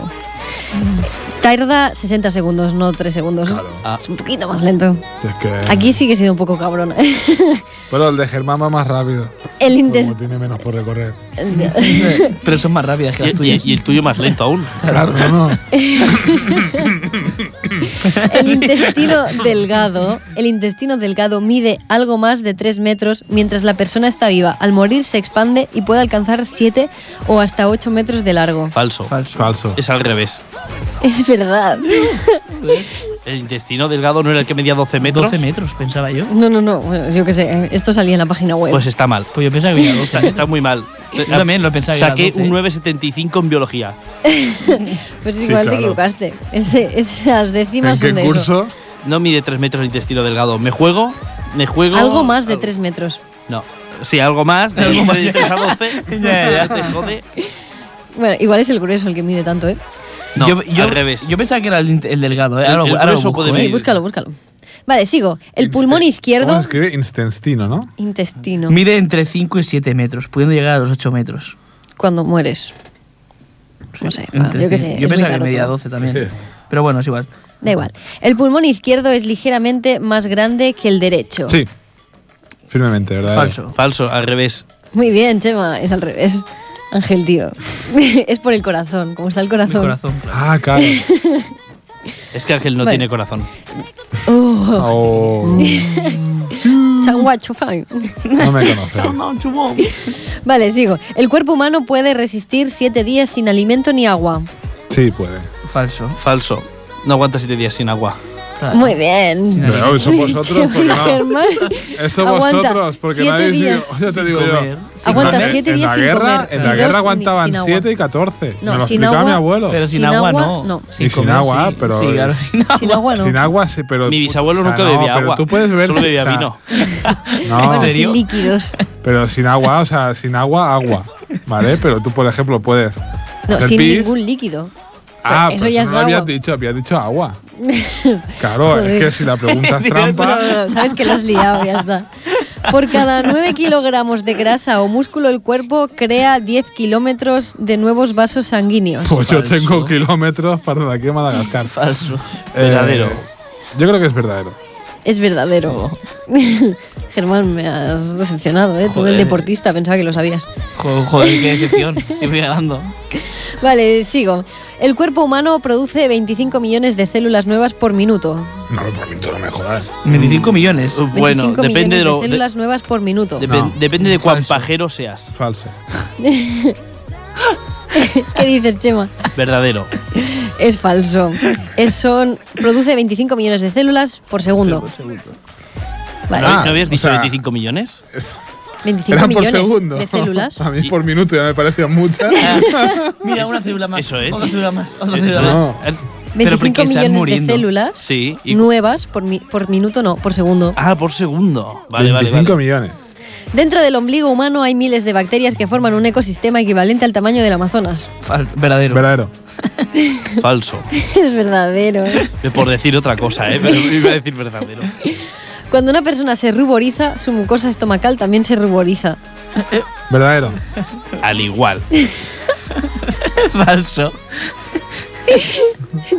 [SPEAKER 2] Tarda 60 segundos, no 3 segundos.
[SPEAKER 4] Ah,
[SPEAKER 2] Es un poquito más lento.
[SPEAKER 3] Si es que-
[SPEAKER 2] Aquí sí que he sido un poco cabrona.
[SPEAKER 3] Pero el de Germán va más rápido.
[SPEAKER 2] El
[SPEAKER 3] Como
[SPEAKER 2] intes-
[SPEAKER 3] tiene menos por recorrer.
[SPEAKER 2] el-
[SPEAKER 5] Pero son más rápidas que
[SPEAKER 4] y,
[SPEAKER 5] las tuyas.
[SPEAKER 4] y- y el tuyo más lento aún.
[SPEAKER 3] Claro, no, no.
[SPEAKER 2] El intestino delgado, el intestino delgado mide algo más de 3 metros mientras la persona está viva. Al morir se expande y puede alcanzar 7 o hasta 8 metros de largo.
[SPEAKER 4] Falso.
[SPEAKER 5] Falso.
[SPEAKER 3] Falso.
[SPEAKER 4] Es al revés.
[SPEAKER 2] Es verdad.
[SPEAKER 4] El intestino delgado no era el que medía 12 metros.
[SPEAKER 5] 12 metros, pensaba yo.
[SPEAKER 2] No, no, no. bueno, yo qué sé. Esto salía en la página web.
[SPEAKER 4] Pues está mal.
[SPEAKER 5] Pues yo pensaba que era 12.
[SPEAKER 4] Está, está muy mal.
[SPEAKER 5] Yo también lo pensaba que era
[SPEAKER 4] Saqué
[SPEAKER 5] 12.
[SPEAKER 4] un 9,75 en biología.
[SPEAKER 2] Pues
[SPEAKER 3] sí,
[SPEAKER 2] igual
[SPEAKER 3] claro.
[SPEAKER 2] te equivocaste. Ese- esas
[SPEAKER 3] ¿En
[SPEAKER 2] décimas son
[SPEAKER 3] qué
[SPEAKER 2] de eso.
[SPEAKER 3] curso?
[SPEAKER 4] No mide 3 metros el intestino delgado. Me juego. Me juego.
[SPEAKER 2] Algo más de 3 metros.
[SPEAKER 4] No. Sí, algo más. De
[SPEAKER 5] Algo más.
[SPEAKER 4] 3 a 12.
[SPEAKER 5] Ya, ya.
[SPEAKER 4] Te jode.
[SPEAKER 2] Bueno, igual es el grueso el que mide tanto, ¿eh?
[SPEAKER 4] No,
[SPEAKER 5] yo, yo-
[SPEAKER 4] al revés.
[SPEAKER 5] Yo pensaba que era el, int- el delgado. ¿eh?
[SPEAKER 4] El-
[SPEAKER 5] Ahora,
[SPEAKER 4] el
[SPEAKER 5] lo- ahora lo
[SPEAKER 4] grueso
[SPEAKER 5] busco,
[SPEAKER 4] puede
[SPEAKER 5] ¿eh?
[SPEAKER 4] medir.
[SPEAKER 2] Sí, búscalo, búscalo. Vale, sigo. El pulmón
[SPEAKER 3] Inste- ¿Cómo
[SPEAKER 2] izquierdo.
[SPEAKER 3] se escribe? Instestino, ¿no?
[SPEAKER 2] Intestino.
[SPEAKER 5] ¿eh? Mide entre 5 y 7 metros, pudiendo llegar a los 8 metros.
[SPEAKER 2] Cuando mueres. No sé, va,
[SPEAKER 5] Entre
[SPEAKER 2] yo qué
[SPEAKER 5] cinco-
[SPEAKER 2] sé.
[SPEAKER 5] Yo
[SPEAKER 2] es muy
[SPEAKER 5] pensaba que
[SPEAKER 2] raro
[SPEAKER 5] medía
[SPEAKER 2] todo.
[SPEAKER 5] 12 también. Pero bueno, es igual.
[SPEAKER 2] Da igual. El pulmón izquierdo es ligeramente más grande que el derecho.
[SPEAKER 3] Sí. Firmemente, ¿verdad?
[SPEAKER 5] Falso.
[SPEAKER 4] Falso, al revés.
[SPEAKER 2] Muy bien, Chema. Es al revés. Ángel, tío. es por el corazón. Como está el
[SPEAKER 5] Mi
[SPEAKER 2] corazón.
[SPEAKER 5] corazón.
[SPEAKER 3] Ah, claro.
[SPEAKER 4] Es que Ángel no
[SPEAKER 2] Vale.
[SPEAKER 4] tiene corazón.
[SPEAKER 2] Oh,
[SPEAKER 3] Oh,
[SPEAKER 2] changuacho, fine.
[SPEAKER 3] no me conoce.
[SPEAKER 2] Vale, sigo. El cuerpo humano puede resistir siete días sin alimento ni agua.
[SPEAKER 3] Sí, puede.
[SPEAKER 5] Falso.
[SPEAKER 4] Falso. No aguanta 7 días sin agua.
[SPEAKER 5] Claro.
[SPEAKER 2] Muy bien.
[SPEAKER 5] Sin
[SPEAKER 3] Pero
[SPEAKER 5] alimento.
[SPEAKER 3] eso vosotros, porque
[SPEAKER 2] Chema,
[SPEAKER 3] no.
[SPEAKER 2] Germán.
[SPEAKER 3] Eso
[SPEAKER 2] Aguanta
[SPEAKER 3] vosotros, porque
[SPEAKER 2] siete
[SPEAKER 3] no habéis ido-
[SPEAKER 2] días
[SPEAKER 3] Ya te digo
[SPEAKER 5] comer.
[SPEAKER 3] yo.
[SPEAKER 5] Sin
[SPEAKER 2] Aguanta
[SPEAKER 5] comer.
[SPEAKER 2] siete
[SPEAKER 3] en
[SPEAKER 2] días
[SPEAKER 3] la
[SPEAKER 2] sin
[SPEAKER 3] guerra,
[SPEAKER 2] comer.
[SPEAKER 3] En la
[SPEAKER 2] Y
[SPEAKER 3] guerra
[SPEAKER 2] dos
[SPEAKER 3] aguantaban
[SPEAKER 2] sin agua.
[SPEAKER 3] 7 y 14.
[SPEAKER 2] No,
[SPEAKER 3] me lo
[SPEAKER 2] sin
[SPEAKER 3] explicaba
[SPEAKER 2] agua-
[SPEAKER 3] mi abuelo.
[SPEAKER 5] Pero sin,
[SPEAKER 2] Sin
[SPEAKER 5] agua,
[SPEAKER 2] agua,
[SPEAKER 5] no.
[SPEAKER 2] no.
[SPEAKER 3] Y sin agua,
[SPEAKER 5] sí.
[SPEAKER 3] pero-
[SPEAKER 5] Sí, claro, sin agua.
[SPEAKER 2] Sin agua no.
[SPEAKER 3] Sin agua, sí, pero.
[SPEAKER 4] Mi bisabuelo
[SPEAKER 3] o sea,
[SPEAKER 4] nunca
[SPEAKER 3] no,
[SPEAKER 4] bebía
[SPEAKER 3] pero
[SPEAKER 4] agua.
[SPEAKER 3] Tú puedes ver.
[SPEAKER 4] Solo bebía
[SPEAKER 3] o sea,
[SPEAKER 4] vino.
[SPEAKER 3] No,
[SPEAKER 2] Bueno,
[SPEAKER 5] ¿En serio?
[SPEAKER 2] sin líquidos.
[SPEAKER 3] pero sin agua, o sea, sin agua, agua. ¿Vale? Pero tú, por ejemplo, puedes.
[SPEAKER 2] No,
[SPEAKER 3] hacer
[SPEAKER 2] sin
[SPEAKER 3] pis.
[SPEAKER 2] ningún líquido.
[SPEAKER 3] Ah,
[SPEAKER 2] Eso
[SPEAKER 3] pero
[SPEAKER 2] ya
[SPEAKER 3] eso
[SPEAKER 2] es
[SPEAKER 3] no lo
[SPEAKER 2] agua.
[SPEAKER 3] habías dicho, habías dicho agua. Claro, es
[SPEAKER 2] Joder.
[SPEAKER 3] que si la pregunta es trampa.
[SPEAKER 2] No, no, no, sabes que lo has liado, ya está. Por cada 9 kilogramos de grasa o músculo, el cuerpo crea 10 kilómetros de nuevos vasos sanguíneos.
[SPEAKER 3] Pues yo
[SPEAKER 5] Falso.
[SPEAKER 3] tengo kilómetros para de aquí a Madagascar.
[SPEAKER 5] Falso.
[SPEAKER 3] Eh,
[SPEAKER 4] Verdadero.
[SPEAKER 3] yo creo que es verdadero.
[SPEAKER 2] Es verdadero. Germán, me has decepcionado, ¿eh? Tú,
[SPEAKER 5] Joder.
[SPEAKER 2] el deportista, pensaba que lo sabías.
[SPEAKER 5] Jo- Joder, qué decepción. Sí, voy ganando.
[SPEAKER 2] Vale, sigo. El cuerpo humano produce 25 millones de células nuevas por minuto.
[SPEAKER 3] No, por mí no me jodas.
[SPEAKER 5] 25 millones.
[SPEAKER 4] Bueno,
[SPEAKER 2] 25
[SPEAKER 4] depende
[SPEAKER 2] millones
[SPEAKER 4] de
[SPEAKER 2] de,
[SPEAKER 4] lo. de-
[SPEAKER 2] células nuevas por minuto.
[SPEAKER 4] depen-
[SPEAKER 3] No.
[SPEAKER 4] Depende de cuán
[SPEAKER 5] Falso.
[SPEAKER 4] pajero seas.
[SPEAKER 3] Falso.
[SPEAKER 2] ¿Qué dices, Chema?
[SPEAKER 4] Verdadero.
[SPEAKER 2] Es falso. Es son, produce 25 millones de células por segundo. Vale,
[SPEAKER 3] Ah,
[SPEAKER 4] ¿No, habías
[SPEAKER 3] o
[SPEAKER 4] dicho
[SPEAKER 3] sea-
[SPEAKER 4] 25 millones?
[SPEAKER 2] 25
[SPEAKER 3] Era por
[SPEAKER 2] millones
[SPEAKER 3] segundo.
[SPEAKER 2] de células.
[SPEAKER 3] A mí por minuto ya me parecían muchas.
[SPEAKER 5] Mira, una célula más.
[SPEAKER 4] Eso es.
[SPEAKER 5] Otra célula más. Otra
[SPEAKER 4] Eh,
[SPEAKER 5] célula
[SPEAKER 3] no.
[SPEAKER 5] más.
[SPEAKER 4] Eh,
[SPEAKER 2] 25
[SPEAKER 5] porque están
[SPEAKER 2] millones
[SPEAKER 5] muriendo.
[SPEAKER 2] de células
[SPEAKER 4] Sí. y-
[SPEAKER 2] nuevas por, mi- por minuto, no, por segundo.
[SPEAKER 4] ah, por segundo. Vale, vale,
[SPEAKER 3] 25
[SPEAKER 4] vale.
[SPEAKER 3] millones.
[SPEAKER 2] Dentro del ombligo humano hay miles de bacterias que forman un ecosistema equivalente al tamaño del Amazonas.
[SPEAKER 5] Fal- verdadero.
[SPEAKER 3] Verdadero.
[SPEAKER 4] Falso.
[SPEAKER 2] es verdadero.
[SPEAKER 4] Por decir otra cosa, ¿eh? Pero iba a decir verdadero.
[SPEAKER 2] Cuando una persona se ruboriza, su mucosa estomacal también se ruboriza.
[SPEAKER 3] Verdadero.
[SPEAKER 4] Al igual.
[SPEAKER 5] Falso.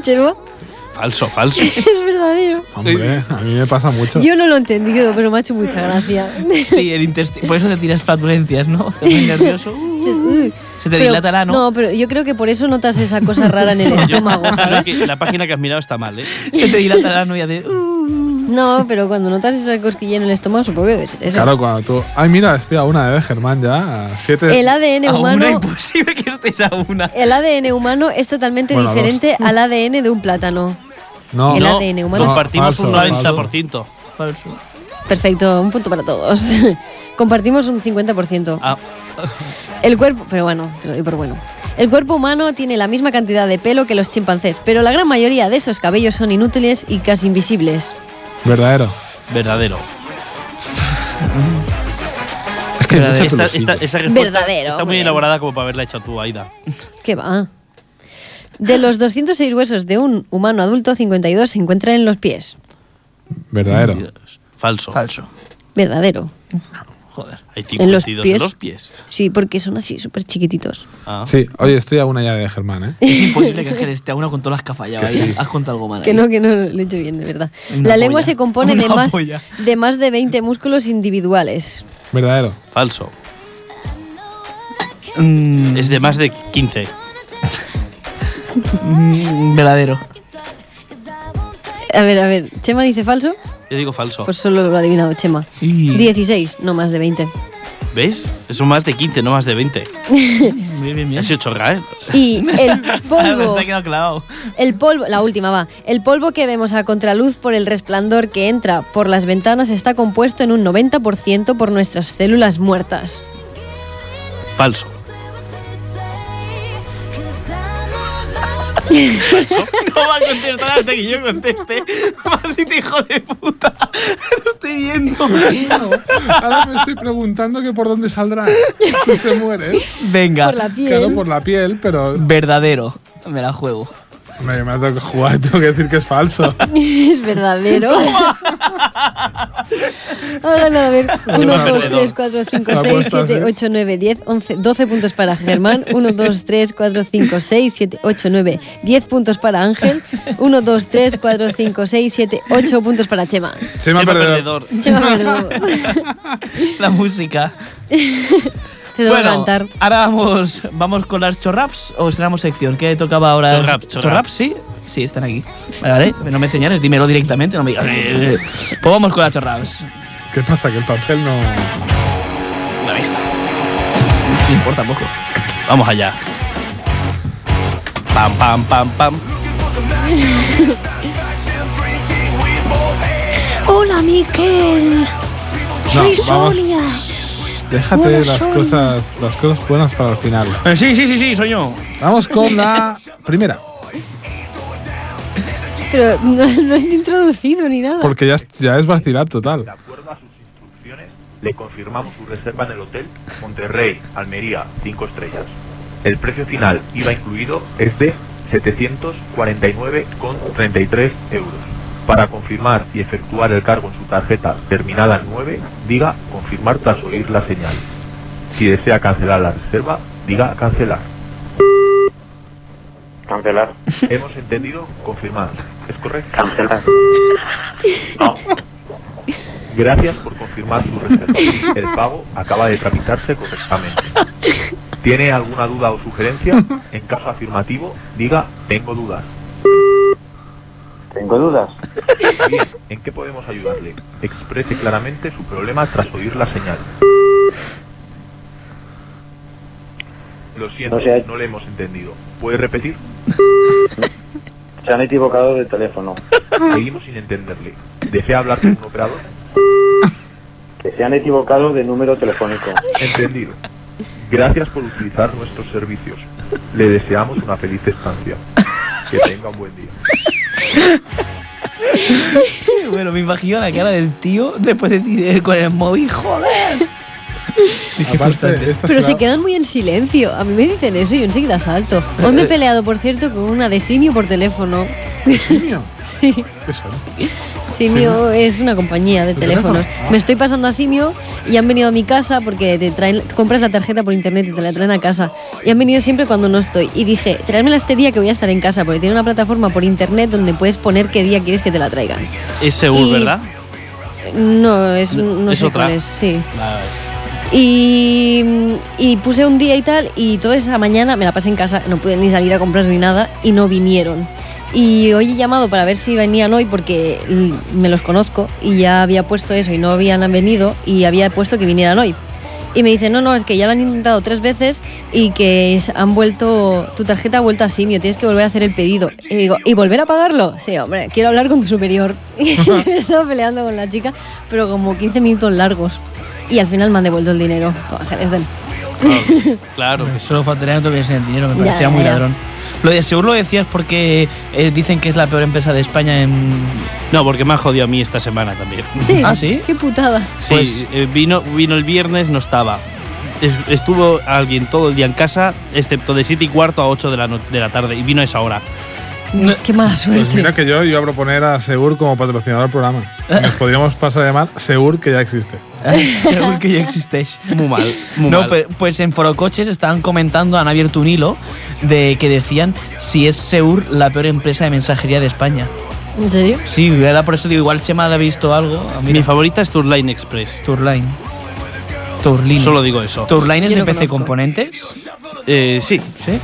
[SPEAKER 2] Chema,
[SPEAKER 4] Falso, falso.
[SPEAKER 2] es verdadero.
[SPEAKER 3] Hombre, a mí me pasa mucho.
[SPEAKER 2] Yo no lo he entendido, pero me ha hecho mucha gracia.
[SPEAKER 5] Sí, el intestino. Por eso te tiras flatulencias, ¿no? Te pones nervioso.
[SPEAKER 2] Dices, "Uy".
[SPEAKER 5] Se te
[SPEAKER 2] Pero-
[SPEAKER 5] dilatará, ¿no?
[SPEAKER 2] No, pero yo creo que por eso notas esa cosa rara en el
[SPEAKER 4] Yo
[SPEAKER 2] estómago,
[SPEAKER 4] creo
[SPEAKER 2] ¿sabes?
[SPEAKER 4] que la página que has mirado está mal, ¿eh?
[SPEAKER 5] Se te dilatará, ¿no? Y hace, uh.
[SPEAKER 2] No, pero cuando notas esa cosquilla en el estómago, supongo que debe ser eso.
[SPEAKER 3] Claro, cuando tú. Ay, mira, estoy a una de Germán ya. a Siete.
[SPEAKER 2] El ADN
[SPEAKER 5] A una
[SPEAKER 2] humano.
[SPEAKER 5] imposible que estéis a una.
[SPEAKER 2] El ADN humano es totalmente
[SPEAKER 3] Bueno, a dos.
[SPEAKER 2] diferente al ADN de un plátano.
[SPEAKER 3] No,
[SPEAKER 2] el
[SPEAKER 3] no.
[SPEAKER 2] ADN humano.
[SPEAKER 4] Compartimos
[SPEAKER 3] Falso,
[SPEAKER 4] un
[SPEAKER 3] falso.
[SPEAKER 4] 90%.
[SPEAKER 5] Falso.
[SPEAKER 2] Perfecto, un punto para todos. Compartimos un 50%.
[SPEAKER 4] Ah,
[SPEAKER 2] El cuerpo, pero bueno, te lo doy por bueno. El cuerpo humano tiene la misma cantidad de pelo que los chimpancés, pero la gran mayoría de esos cabellos son inútiles y casi invisibles.
[SPEAKER 3] Verdadero.
[SPEAKER 4] verdadero.
[SPEAKER 3] que hay mucha
[SPEAKER 4] Esta,
[SPEAKER 3] pelusilla.
[SPEAKER 4] esta- esta respuesta
[SPEAKER 2] Verdadero,
[SPEAKER 4] está muy
[SPEAKER 2] hombre.
[SPEAKER 4] elaborada como para haberla hecho tú, Aida.
[SPEAKER 2] ¿Qué va? De los 206 huesos de un humano adulto, 52 se encuentran en los pies.
[SPEAKER 3] Verdadero.
[SPEAKER 4] Dios. Falso.
[SPEAKER 5] Falso.
[SPEAKER 2] Verdadero.
[SPEAKER 4] Joder. Hay
[SPEAKER 2] En los
[SPEAKER 4] 52 en
[SPEAKER 2] pies.
[SPEAKER 4] los pies.
[SPEAKER 2] Sí, porque son así, súper chiquititos.
[SPEAKER 4] Ah.
[SPEAKER 3] Sí, oye, estoy a una ya de Germán, ¿eh?
[SPEAKER 1] Es imposible que Ángel esté a una con todas las que ha fallado.
[SPEAKER 3] Que
[SPEAKER 1] ahí.
[SPEAKER 3] sí.
[SPEAKER 1] Has contado algo mal.
[SPEAKER 2] Que
[SPEAKER 1] ahí.
[SPEAKER 2] no, que no lo he hecho bien, de verdad.
[SPEAKER 1] Una
[SPEAKER 2] la lengua
[SPEAKER 1] polla.
[SPEAKER 2] se compone de
[SPEAKER 1] Una
[SPEAKER 2] más,
[SPEAKER 1] polla.
[SPEAKER 2] de más de 20 músculos individuales.
[SPEAKER 3] Verdadero.
[SPEAKER 4] Falso.
[SPEAKER 5] Mm,
[SPEAKER 4] Es de más de 15.
[SPEAKER 1] Mm, verdadero.
[SPEAKER 2] A ver, a ver, ¿Chema dice falso?
[SPEAKER 4] Yo digo falso.
[SPEAKER 2] Pues solo lo ha adivinado Chema.
[SPEAKER 5] y-
[SPEAKER 2] 16, no más de 20.
[SPEAKER 4] ¿Ves? Es un más de 15, no más de 20.
[SPEAKER 5] Bien, bien, bien.
[SPEAKER 4] Has hecho chorra, ¿eh?
[SPEAKER 2] Y el
[SPEAKER 5] Me
[SPEAKER 2] polvo,
[SPEAKER 5] está quedando clavado.
[SPEAKER 2] el polvo, la última va. El polvo que vemos a contraluz por el resplandor que entra por las ventanas está compuesto en un 90% por nuestras células muertas.
[SPEAKER 4] Falso.
[SPEAKER 5] No va a contestar hasta que yo conteste. Maldito hijo de puta. Lo estoy viendo.
[SPEAKER 3] Ahora me estoy preguntando que por dónde saldrá. Si se muere.
[SPEAKER 5] Venga.
[SPEAKER 2] Por la piel.
[SPEAKER 3] Claro, por la piel, pero
[SPEAKER 5] Verdadero. Me la juego.
[SPEAKER 3] me, me ha tocado jugar, tengo que decir que es falso.
[SPEAKER 2] Es verdadero. Ha ganado, a ver, 1, 2,
[SPEAKER 4] perdedor.
[SPEAKER 2] 3, 4, 5,
[SPEAKER 3] La
[SPEAKER 2] 6,
[SPEAKER 3] apuesta,
[SPEAKER 2] 7,
[SPEAKER 3] ¿eh?
[SPEAKER 2] 8, 9, 10, 11, 12 puntos para Germán. 1, 2, 3, 4, 5, 6, 7, 8, 9, 10 puntos para Ángel. 1, 2, 3, 4, 5, 6, 7, 8 puntos para Chema.
[SPEAKER 3] Se me ha
[SPEAKER 4] Chema
[SPEAKER 3] perdido.
[SPEAKER 4] perdedor.
[SPEAKER 2] Chema, perdón.
[SPEAKER 5] La música.
[SPEAKER 2] Te debo cantar.
[SPEAKER 5] ahora vamos, vamos con las chorraps o estrenamos sección. ¿Qué tocaba ahora?
[SPEAKER 4] Chorraps, chorraps.
[SPEAKER 5] sí. Sí, están aquí. Vale, vale, no me señales, dímelo directamente, no me digas. Pues vamos con las chorraps.
[SPEAKER 3] ¿Qué pasa? Que el papel no.
[SPEAKER 5] La visto. No importa poco.
[SPEAKER 4] Vamos allá. Pam, pam, pam, pam.
[SPEAKER 6] Hola Miquel,
[SPEAKER 3] No,
[SPEAKER 6] soy
[SPEAKER 3] vamos.
[SPEAKER 6] Sonia.
[SPEAKER 3] Déjate
[SPEAKER 6] Hola,
[SPEAKER 3] las
[SPEAKER 6] Sonia.
[SPEAKER 3] cosas, las cosas buenas para el final.
[SPEAKER 5] Eh, sí, sí, sí, sí, soy yo.
[SPEAKER 3] Vamos con la primera,
[SPEAKER 2] Pero no, no has ni introducido ni nada.
[SPEAKER 3] porque ya, ya es vacilab total.
[SPEAKER 7] De acuerdo a sus instrucciones, le confirmamos su reserva en el hotel Monterrey, Almería, 5 estrellas. El precio final, IVA incluido, es de 749,33 euros. Para confirmar y efectuar el cargo en su tarjeta terminada en 9, diga confirmar tras oír la señal. Si desea cancelar la reserva, diga cancelar.
[SPEAKER 8] Cancelar,
[SPEAKER 7] Hemos entendido confirmar. ¿Es correcto?
[SPEAKER 8] cancelar.
[SPEAKER 7] Gracias por confirmar su reserva. El pago acaba de tramitarse correctamente. ¿Tiene alguna duda o sugerencia? En caso afirmativo, diga tengo dudas.
[SPEAKER 8] Tengo dudas.
[SPEAKER 7] Bien, ¿en qué podemos ayudarle? Exprese claramente su problema tras oír la señal. Lo siento,
[SPEAKER 8] No sea-
[SPEAKER 7] no le hemos entendido. ¿Puede repetir?
[SPEAKER 8] Se han equivocado de teléfono.
[SPEAKER 7] Seguimos sin entenderle. ¿Desea hablar con un operador?
[SPEAKER 8] Que se han equivocado de número telefónico.
[SPEAKER 7] Entendido. Gracias por utilizar nuestros servicios. Le deseamos una feliz estancia. Que tenga un buen día.
[SPEAKER 5] Bueno, me imagino la cara del tío después de tirar con el móvil, joder. Es que frustrante.
[SPEAKER 3] Aparte, esta
[SPEAKER 2] Pero se
[SPEAKER 3] será-
[SPEAKER 2] quedan muy en silencio. A mí me dicen eso y yo enseguida salto. Hoy me he peleado, por cierto, con una de simio por teléfono.
[SPEAKER 3] simio.
[SPEAKER 2] Sí.
[SPEAKER 3] ¿Qué son?
[SPEAKER 2] Simio es una compañía de
[SPEAKER 3] ¿De teléfono?
[SPEAKER 2] teléfonos. Me estoy pasando a Simio y han venido a mi casa porque te traen, compras la tarjeta por internet y te la traen a casa. Y han venido siempre cuando no estoy. Y dije, tráemela este día que voy a estar en casa porque tiene una plataforma por internet donde puedes poner qué día quieres que te la traigan.
[SPEAKER 4] Es Seúl,
[SPEAKER 2] Y-
[SPEAKER 4] ¿verdad?
[SPEAKER 2] No, es, no
[SPEAKER 4] Es
[SPEAKER 2] sé
[SPEAKER 4] otra.
[SPEAKER 2] cuál es, sí.
[SPEAKER 4] Vale.
[SPEAKER 2] Y, y puse un día y tal, y toda esa mañana me la pasé en casa, no pude ni salir a comprar ni nada, y no vinieron. Y hoy he llamado para ver si venían hoy porque l- me los conozco y ya había puesto eso y no habían venido y había puesto que vinieran hoy. Y me dicen, no, no, es que ya lo han intentado tres veces y que s- han vuelto, tu tarjeta ha vuelto a simio, tienes que volver a hacer el pedido. Y digo, ¿y volver a pagarlo? Sí, hombre, quiero hablar con tu superior. Y me estaba peleando con la chica, pero como 15 minutos largos. Y al final me han devuelto el dinero. Todo ángeles del-
[SPEAKER 4] Ah, Claro.
[SPEAKER 5] Solo faltaría que tuviesen el dinero, me
[SPEAKER 2] Ya,
[SPEAKER 5] parecía
[SPEAKER 2] ya,
[SPEAKER 5] muy
[SPEAKER 2] ya.
[SPEAKER 5] ladrón. Lo de seguro lo decías porque eh, dicen que es la peor empresa de España en.
[SPEAKER 4] No, porque me ha jodido a mí esta semana también.
[SPEAKER 2] Sí.
[SPEAKER 5] Ah, ¿sí?
[SPEAKER 2] Qué putada.
[SPEAKER 4] Sí,
[SPEAKER 5] Pues-
[SPEAKER 4] eh, vino, vino el viernes, no estaba. Es- Estuvo alguien todo el día en casa, excepto de 7 y cuarto a 8 de la, no- de la tarde, y vino a esa hora.
[SPEAKER 5] No.
[SPEAKER 2] Qué mala
[SPEAKER 3] Pues
[SPEAKER 2] suerte.
[SPEAKER 3] mira que yo iba a proponer a Segur como patrocinador del programa. Nos podríamos pasar a llamar Segur, que ya existe.
[SPEAKER 5] seguro que ya existéis.
[SPEAKER 4] Muy mal, muy
[SPEAKER 5] no,
[SPEAKER 4] mal.
[SPEAKER 5] pe- pues en Forocoches estaban comentando, han abierto un hilo de que decían si es Seur la peor empresa de mensajería de España.
[SPEAKER 2] ¿En serio?
[SPEAKER 5] Sí, era por eso digo, igual Chema le ha visto algo. Ah, mira,
[SPEAKER 4] Mi favorita es Tourline Express.
[SPEAKER 5] Tourline. Tourline.
[SPEAKER 4] Solo digo eso.
[SPEAKER 5] ¿Tourline es de
[SPEAKER 2] Yo lo
[SPEAKER 5] PC
[SPEAKER 2] conozco.
[SPEAKER 5] Componentes?
[SPEAKER 4] Eh, sí,
[SPEAKER 5] Sí.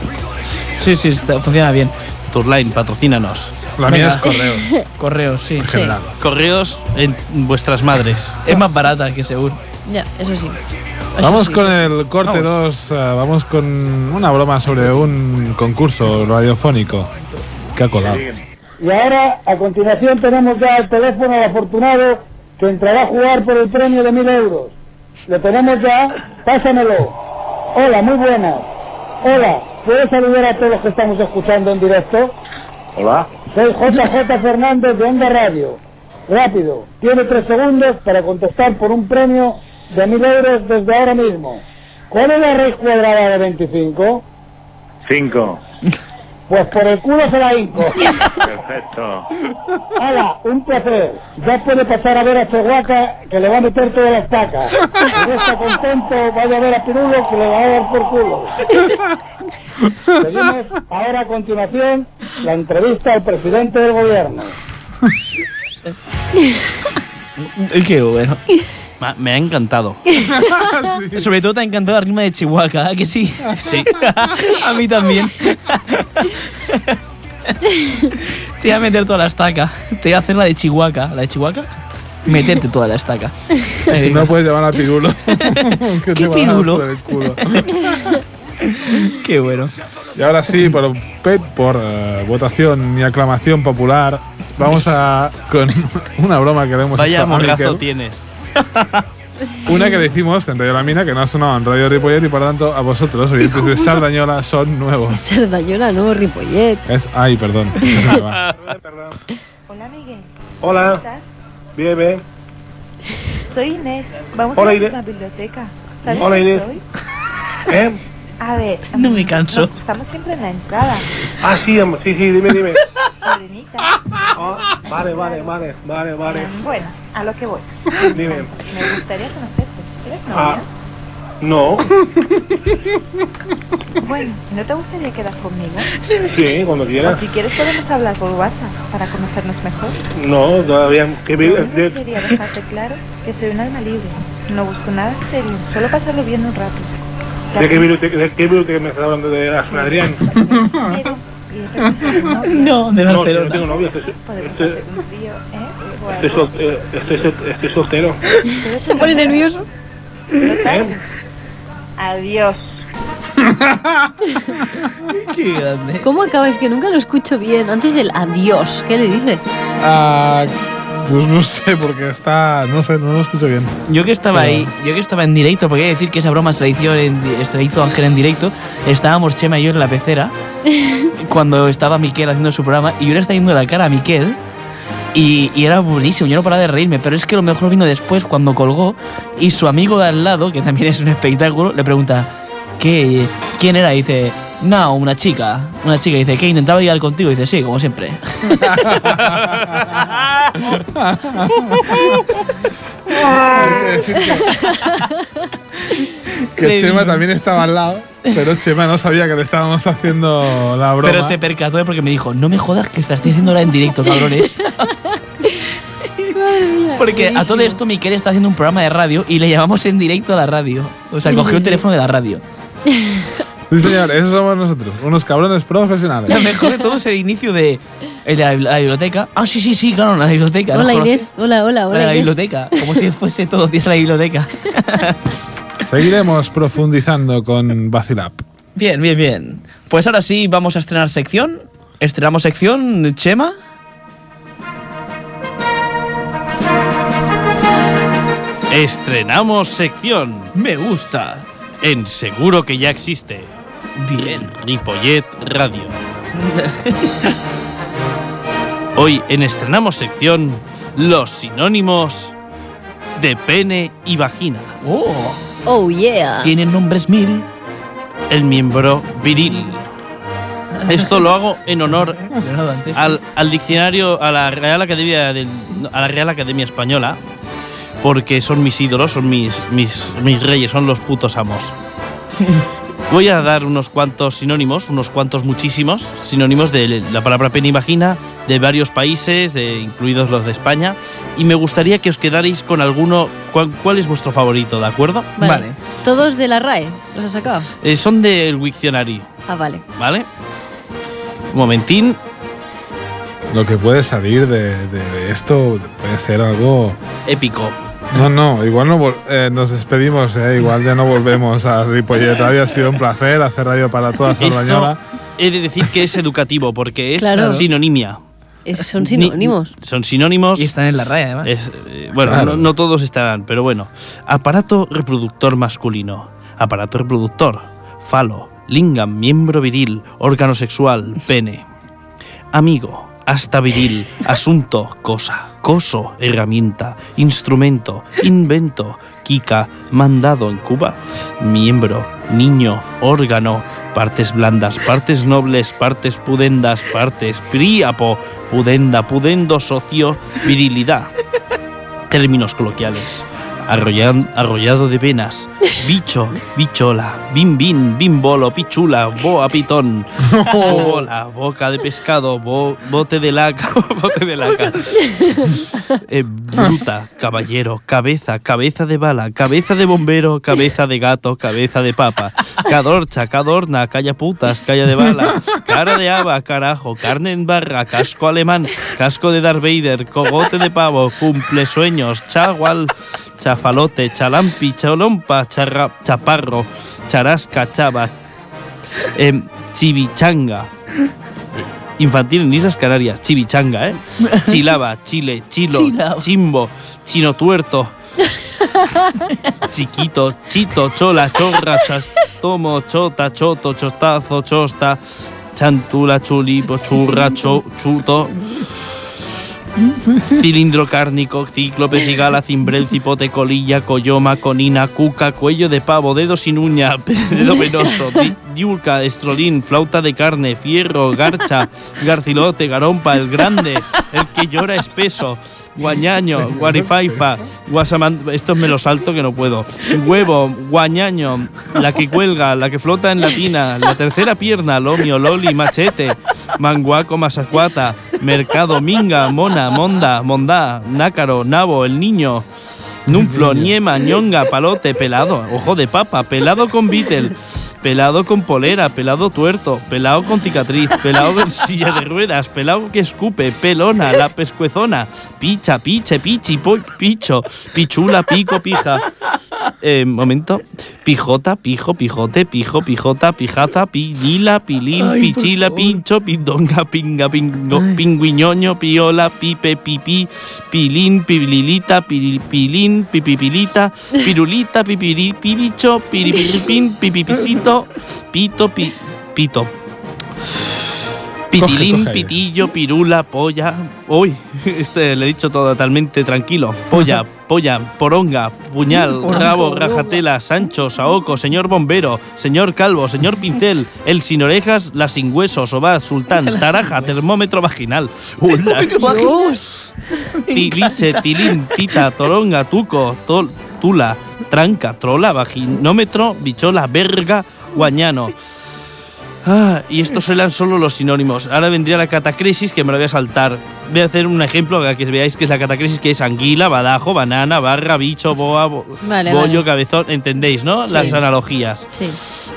[SPEAKER 5] Sí, sí, está- funciona bien.
[SPEAKER 4] Tourline, patrocínanos.
[SPEAKER 3] La mía
[SPEAKER 5] Venga.
[SPEAKER 3] es correos,
[SPEAKER 5] Correos, sí.
[SPEAKER 3] en general.
[SPEAKER 4] Correos en vuestras madres.
[SPEAKER 5] Es más barata que Seur.
[SPEAKER 2] Ya, eso sí. Eso
[SPEAKER 3] Vamos
[SPEAKER 2] sí.
[SPEAKER 3] con el corte 2, vamos con una broma sobre un concurso radiofónico que ha colado.
[SPEAKER 9] Y ahora, a continuación, tenemos ya el teléfono al afortunado que entrará a jugar por el premio de mil euros. Lo tenemos ya, pásamelo. Hola, muy buenas. Hola, ¿puedes saludar a todos los que estamos escuchando en directo?
[SPEAKER 8] Hola.
[SPEAKER 9] Soy JJ Fernández de Onda Radio. Rápido, tiene tres segundos para contestar por un premio de mil euros desde ahora mismo. ¿Cuál es la raíz cuadrada de 25?
[SPEAKER 8] Cinco.
[SPEAKER 9] Pues por el culo se la hinco.
[SPEAKER 8] Perfecto.
[SPEAKER 9] Hola, un placer. Ya puede pasar a ver a Chihuahua que le va a meter todas las tacas. Si no está contento, vaya a ver a Pirulo que le va a dar por culo. Seguimos ahora a continuación la entrevista al presidente del gobierno.
[SPEAKER 5] Qué bueno.
[SPEAKER 4] Ma- Me ha encantado.
[SPEAKER 5] Sobre todo te ha encantado la rima de Chihuahua, ¿a que sí?
[SPEAKER 4] Sí.
[SPEAKER 5] a mí también. te voy a meter toda la estaca. Te voy a hacer la de Chihuahua. ¿La de Chihuahua? Meterte toda la estaca.
[SPEAKER 3] Si no puedes llamar a Pirulo. que
[SPEAKER 5] ¿Qué
[SPEAKER 3] te van a dar
[SPEAKER 5] Pirulo?
[SPEAKER 3] por el culo.
[SPEAKER 5] Qué bueno.
[SPEAKER 3] Y ahora sí, por, pe- por eh, votación y aclamación popular, vamos a con una broma que le hemos
[SPEAKER 4] Vaya
[SPEAKER 3] hecho a
[SPEAKER 4] morgazo
[SPEAKER 3] Miquel.
[SPEAKER 4] tienes.
[SPEAKER 3] Una que le hicimos en Radio La Mina, que no ha sonado en Radio Ripoller y por tanto a vosotros, oyentes de Sardañola, son nuevos.
[SPEAKER 2] Sardañola, no, Ripollet.
[SPEAKER 3] Es, ay, perdón. se me va.
[SPEAKER 10] Hola Miguel,
[SPEAKER 7] Hola,
[SPEAKER 10] ¿estás?
[SPEAKER 7] bien, bien.
[SPEAKER 10] Soy Inés. Vamos
[SPEAKER 7] Hola,
[SPEAKER 10] a ir
[SPEAKER 7] Inés.
[SPEAKER 10] a la biblioteca. ¿Sabes
[SPEAKER 7] Hola,
[SPEAKER 10] quién
[SPEAKER 7] Inés.
[SPEAKER 10] soy?
[SPEAKER 7] ¿Eh?
[SPEAKER 10] A ver.
[SPEAKER 5] No me canso.
[SPEAKER 10] no, estamos siempre en la entrada.
[SPEAKER 7] Ah, sí, am- sí, sí, dime, dime.
[SPEAKER 10] Sobrinita.
[SPEAKER 7] Ah, vale, vale, vale, vale, vale.
[SPEAKER 10] Bueno, a lo que voy.
[SPEAKER 7] Dime.
[SPEAKER 10] Me gustaría conocerte. ¿Eres
[SPEAKER 7] Ah,
[SPEAKER 10] novia?
[SPEAKER 7] no,
[SPEAKER 10] Bueno, ¿no te gustaría quedar conmigo?
[SPEAKER 7] Eh. sí, cuando
[SPEAKER 10] O
[SPEAKER 7] quieras.
[SPEAKER 10] si quieres podemos hablar por WhatsApp para conocernos mejor.
[SPEAKER 7] No, todavía. ¿Qué
[SPEAKER 10] Yo
[SPEAKER 7] pides?
[SPEAKER 10] único que quería dejarte claro que soy un alma libre. No busco nada en serio, solo pasarlo bien un rato.
[SPEAKER 7] ¿De qué biblioteca, de qué biblioteca me estás hablando? ¿De la San Adrián?
[SPEAKER 10] No.
[SPEAKER 5] de
[SPEAKER 7] No, yo no tengo novia, estoy,
[SPEAKER 10] Podemos
[SPEAKER 7] estoy-
[SPEAKER 10] hacer un trío, ¿eh? O
[SPEAKER 7] estoy
[SPEAKER 10] algo.
[SPEAKER 7] sol- eh, estoy sol- estoy soltero.
[SPEAKER 10] Pero
[SPEAKER 2] Se pone nervioso.
[SPEAKER 10] Total.
[SPEAKER 7] ¿Eh?
[SPEAKER 10] Adiós.
[SPEAKER 5] Qué grande.
[SPEAKER 2] ¿Cómo acabas? Que nunca lo escucho bien. Antes del adiós, ¿qué le dices?
[SPEAKER 3] Ah, pues no sé, porque está. No sé, no lo escucho bien.
[SPEAKER 5] Yo que estaba ahí, yo que estaba en directo, porque hay que decir que esa broma se la hizo, en di- se la hizo Ángel en directo. Estábamos Chema y yo en la pecera cuando estaba Miquel haciendo su programa y yo le estaba viendo la cara a Miquel y, y era buenísimo, yo no paraba de reírme, pero es que lo mejor vino después cuando colgó y su amigo de al lado, que también es un espectáculo, le pregunta, ¿qué, ¿quién era? Y dice, no, una chica, una chica, Y dice, ¿qué? Intentaba llegar contigo, Y dice, sí, como siempre.
[SPEAKER 3] Hay que decir que- que
[SPEAKER 5] Le
[SPEAKER 3] Chema
[SPEAKER 5] digo.
[SPEAKER 3] también estaba al lado, pero Chema no sabía que le estábamos haciendo la broma.
[SPEAKER 5] Pero se percató porque me dijo, no me jodas que se la estoy haciendo ahora en directo, cabrones. Porque a todo
[SPEAKER 2] Buenísimo.
[SPEAKER 5] esto Miquel está haciendo un programa de radio y le llamamos en directo a la radio. O sea,
[SPEAKER 2] Sí,
[SPEAKER 5] cogió
[SPEAKER 2] sí,
[SPEAKER 5] el
[SPEAKER 2] sí.
[SPEAKER 5] teléfono de la radio.
[SPEAKER 3] Sí, señor, esos somos nosotros, unos cabrones profesionales.
[SPEAKER 5] Lo mejor de todo es el inicio de, el de la, bibli- la biblioteca. Ah, sí, sí, sí, claro, la biblioteca. ¿nos
[SPEAKER 2] Hola
[SPEAKER 5] conoces?
[SPEAKER 2] Inés, hola,
[SPEAKER 5] La
[SPEAKER 2] hola,
[SPEAKER 5] de la
[SPEAKER 2] hola Inés.
[SPEAKER 5] biblioteca, como si fuese todos los días a la biblioteca.
[SPEAKER 3] Seguiremos profundizando con Vacilap.
[SPEAKER 5] Bien, bien, bien. Pues ahora sí, vamos a estrenar sección. Estrenamos sección, Chema.
[SPEAKER 4] Estrenamos sección.
[SPEAKER 5] Me gusta.
[SPEAKER 4] En Seguro que ya existe.
[SPEAKER 5] Bien.
[SPEAKER 4] Ripollet Radio. Hoy en Estrenamos sección Los sinónimos de pene y vagina.
[SPEAKER 5] Oh,
[SPEAKER 2] Oh, yeah.
[SPEAKER 5] tienen nombres mil.
[SPEAKER 4] El miembro viril. Esto lo hago en honor
[SPEAKER 5] Leonardo Dante.
[SPEAKER 3] Ah,
[SPEAKER 4] al, al diccionario, a la Real Academia del- a la Real Academia Española, porque son mis ídolos, son mis, mis, mis reyes, son los putos amos. Voy a dar unos cuantos sinónimos, unos cuantos muchísimos sinónimos de la palabra pene y vagina de varios países, de- incluidos los de España, y me gustaría que os quedarais con alguno. ¿Cuál, cuál es vuestro favorito, de acuerdo?
[SPEAKER 2] Vale.
[SPEAKER 5] Vale.
[SPEAKER 2] Todos de la RAE. ¿Los has sacado?
[SPEAKER 4] Eh, son del Wiktionary,
[SPEAKER 2] Ah, vale.
[SPEAKER 4] ¿vale? Un momentín.
[SPEAKER 3] Lo que puede salir de, de- de esto puede ser algo.
[SPEAKER 4] Épico.
[SPEAKER 3] No, no, igual no vol- eh, nos despedimos, eh, igual ya no volvemos a Ripollet Radio. Ha sido un placer hacer radio para toda
[SPEAKER 4] Esto
[SPEAKER 3] Sardañola.
[SPEAKER 4] he de decir que es educativo porque es
[SPEAKER 2] Claro.
[SPEAKER 4] sinonimia.
[SPEAKER 2] Es- Eh, son sinónimos.
[SPEAKER 4] Ni- son sinónimos.
[SPEAKER 5] Y están en la raya, además.
[SPEAKER 4] Es, eh, bueno,
[SPEAKER 3] Claro.
[SPEAKER 4] no, no todos estarán, pero bueno. Aparato reproductor masculino. Aparato reproductor. Falo. Lingam. Miembro viril. Órgano sexual. Pene. Amigo. Hasta viril. Asunto. Cosa. Coso. Herramienta. Instrumento. Invento. Kika. Mandado en Cuba. Miembro. Niño. Órgano. Partes blandas. Partes nobles. Partes pudendas. Partes príapo. Pudenda. Pudendo. Socio. Virilidad términos coloquiales. Arrollan- arrollado de venas, bicho, bichola, bim bim, bimbolo, pichula, boa pitón, bola, boca de pescado, bo- bote de laca, bote de laca, Eh, bruta, caballero, cabeza, cabeza de bala, cabeza de bombero, cabeza de gato, cabeza de papa, cadorcha, cadorna, calla putas, calla de bala, cara de haba, carajo, carne en barra, casco alemán, casco de Darth Vader, cogote de pavo, cumple sueños, chagual, chafalote, chalampi, cholompa, charra- chaparro, charasca, chava, em, chivichanga. Infantil en Islas Canarias, chivichanga, ¿eh? Chilaba, chile, chilo,
[SPEAKER 5] Chilaba.
[SPEAKER 4] chimbo, chino tuerto, chiquito, chito, chola, chorra, chastomo, chota, choto, chostazo, chosta, chantula, chulipo, churra, cho- chuto, cilindro cárnico, cíclope, cigala, cimbrel, cipote, colilla, coyoma, conina, cuca, cuello de pavo, dedo sin uña, dedo venoso, di- diulca, estrolín, flauta de carne, fierro, garcha, garcilote, garompa, el grande, el que llora espeso, guañaño, guarifaifa, guasaman... Estos me los salto que no puedo. Huevo, guañaño, la que cuelga, la que flota en la tina, la tercera pierna, lomio, loli, machete, manguaco, masacuata, mercado, minga, mona, monda, mondá, nácaro, nabo, el niño. Nunflo, niema, ñonga, palote, pelado, ojo de papa, pelado con Beatle, pelado con polera, pelado tuerto, pelado con cicatriz, pelado con silla de ruedas, pelado que escupe, pelona, la pescuezona, picha, piche, pichi, po- picho, pichula, pico, pija. Eh, momento. Pijota, pijo, pijote, pijo, pijota, pijaza, pilila, pilín, pichila, pincho, pindonga, pinga, pingo, pingüiñoño, piola, pipe, pipí, pilín, pililita, pilín, pipipilita, pirulita, pipiri, piricho, piripiripín, pipipisito, pito, pi- pito. Pitilín,
[SPEAKER 3] coge aire.
[SPEAKER 4] pitillo, pirula, polla. Uy, este le he dicho todo totalmente tranquilo. Polla, polla, poronga, puñal, rabo, rajatela, Sancho, Saoco, señor bombero, señor calvo, señor pincel, el sin orejas, la sin huesos, sobaz, sultán, taraja, termómetro vaginal. Hola. Tiliche, tilín, tita, toronga, tuco, tol- tula, tranca, trola, vaginómetro, bichola, verga, guañano. Ah, y estos eran solo los sinónimos. Ahora vendría la catacrisis que me la voy a saltar. Voy a hacer un ejemplo para que veáis que es la catacrisis que es anguila, badajo, banana, barra, bicho, boa, bo-
[SPEAKER 2] Vale,
[SPEAKER 4] bollo,
[SPEAKER 2] vale.
[SPEAKER 4] cabezón. ¿Entendéis, no?
[SPEAKER 2] Sí.
[SPEAKER 4] Las analogías.
[SPEAKER 2] Sí.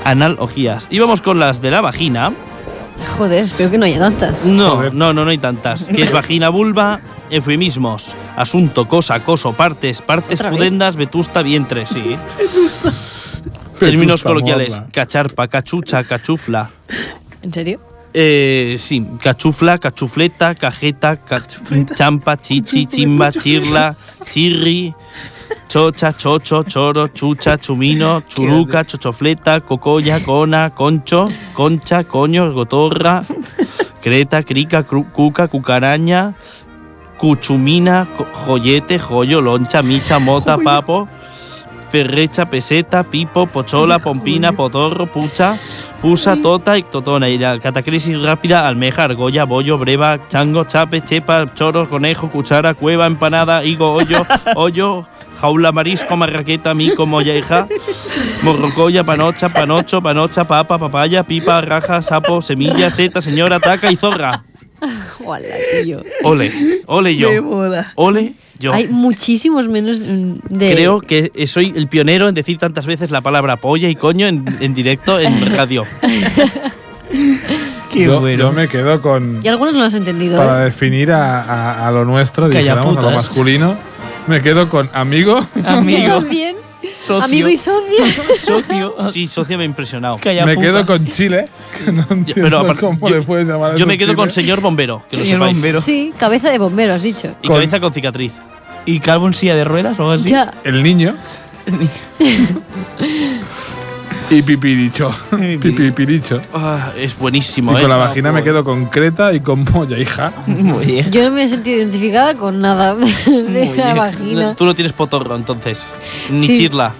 [SPEAKER 4] Analogías. Y vamos con las de la vagina.
[SPEAKER 2] Joder, espero que no haya tantas.
[SPEAKER 4] No,
[SPEAKER 3] Joder.
[SPEAKER 4] no, no, no hay tantas. Que es vagina, vulva, eufemismos, asunto, cosa, coso, partes, partes
[SPEAKER 2] ¿Otra vez?
[SPEAKER 4] pudendas, vetusta, vientre, sí. Términos
[SPEAKER 3] Vetusta
[SPEAKER 4] coloquiales,
[SPEAKER 3] morla.
[SPEAKER 4] cacharpa, cachucha, cachufla.
[SPEAKER 2] ¿En serio?
[SPEAKER 4] Eh, sí, cachufla, cachufleta, cajeta, ca- champa, chichi, chimba, chirla, chirri, chocha, chocho, choro, chucha, chumino, churuca, chochofleta, cocoya, cona, concho, concha, coño, gotorra, Creta, crica, cru- cuca, cucaraña, cuchumina, co- joyete, joyo, loncha, micha, mota, papo, perrecha, peseta, pipo, pochola, pompina, potorro, pucha, pusa, tota y totona. Y la catacrisis rápida, almeja, argolla, bollo, breva, chango, chape, chepa, choro, conejo, cuchara, cueva, empanada, higo, hoyo, hoyo, jaula, marisco, marraqueta, mico, molleja, morrocoya, panocha, panocho, panocha, papa, papaya, pipa, raja, sapo, semilla, seta, señora, taca y zorra.
[SPEAKER 2] Hola, tío.
[SPEAKER 4] Ole, ole yo.
[SPEAKER 2] Me mola.
[SPEAKER 4] Ole yo.
[SPEAKER 2] Hay muchísimos menos mm, de.
[SPEAKER 4] Creo que soy el pionero en decir tantas veces la palabra polla y coño en, en directo en radio.
[SPEAKER 3] Qué yo, bueno. yo me quedo con.
[SPEAKER 2] Y algunos no lo has entendido.
[SPEAKER 3] Para
[SPEAKER 2] ¿eh?
[SPEAKER 3] definir a, a- a lo nuestro,
[SPEAKER 5] Que haya
[SPEAKER 3] dijéramos, a lo
[SPEAKER 5] putas.
[SPEAKER 3] masculino, me quedo con amigo.
[SPEAKER 5] Amigo,
[SPEAKER 2] También.
[SPEAKER 4] Socio.
[SPEAKER 2] Amigo y socio.
[SPEAKER 4] socio. Sí, socio me ha impresionado.
[SPEAKER 3] me quedo con Chile. que no entiendo
[SPEAKER 4] pero aparte-
[SPEAKER 3] cómo
[SPEAKER 4] yo-
[SPEAKER 3] le puedes llamar a
[SPEAKER 4] Yo me
[SPEAKER 3] eso
[SPEAKER 4] quedo con
[SPEAKER 3] Chile.
[SPEAKER 4] señor bombero, que
[SPEAKER 5] Señor
[SPEAKER 4] lo sepáis.
[SPEAKER 5] bombero.
[SPEAKER 2] Sí, cabeza de bombero, has dicho.
[SPEAKER 4] Y
[SPEAKER 3] Con-
[SPEAKER 4] cabeza con cicatriz.
[SPEAKER 5] ¿Y calvo en silla de ruedas
[SPEAKER 4] ¿Oh,
[SPEAKER 5] o algo así?
[SPEAKER 2] Ya.
[SPEAKER 3] El niño. y pipiricho. Pipiricho.
[SPEAKER 4] Ah, es buenísimo,
[SPEAKER 3] Y
[SPEAKER 4] ¿eh?
[SPEAKER 3] con la vagina me quedo con Creta y con Moya, hija.
[SPEAKER 5] Muy bien.
[SPEAKER 2] Yo no me he sentido identificada con nada de
[SPEAKER 5] Muy
[SPEAKER 2] la
[SPEAKER 5] bien.
[SPEAKER 2] vagina.
[SPEAKER 4] No, Tú no tienes potorro, entonces. Ni
[SPEAKER 2] Sí.
[SPEAKER 4] chirla.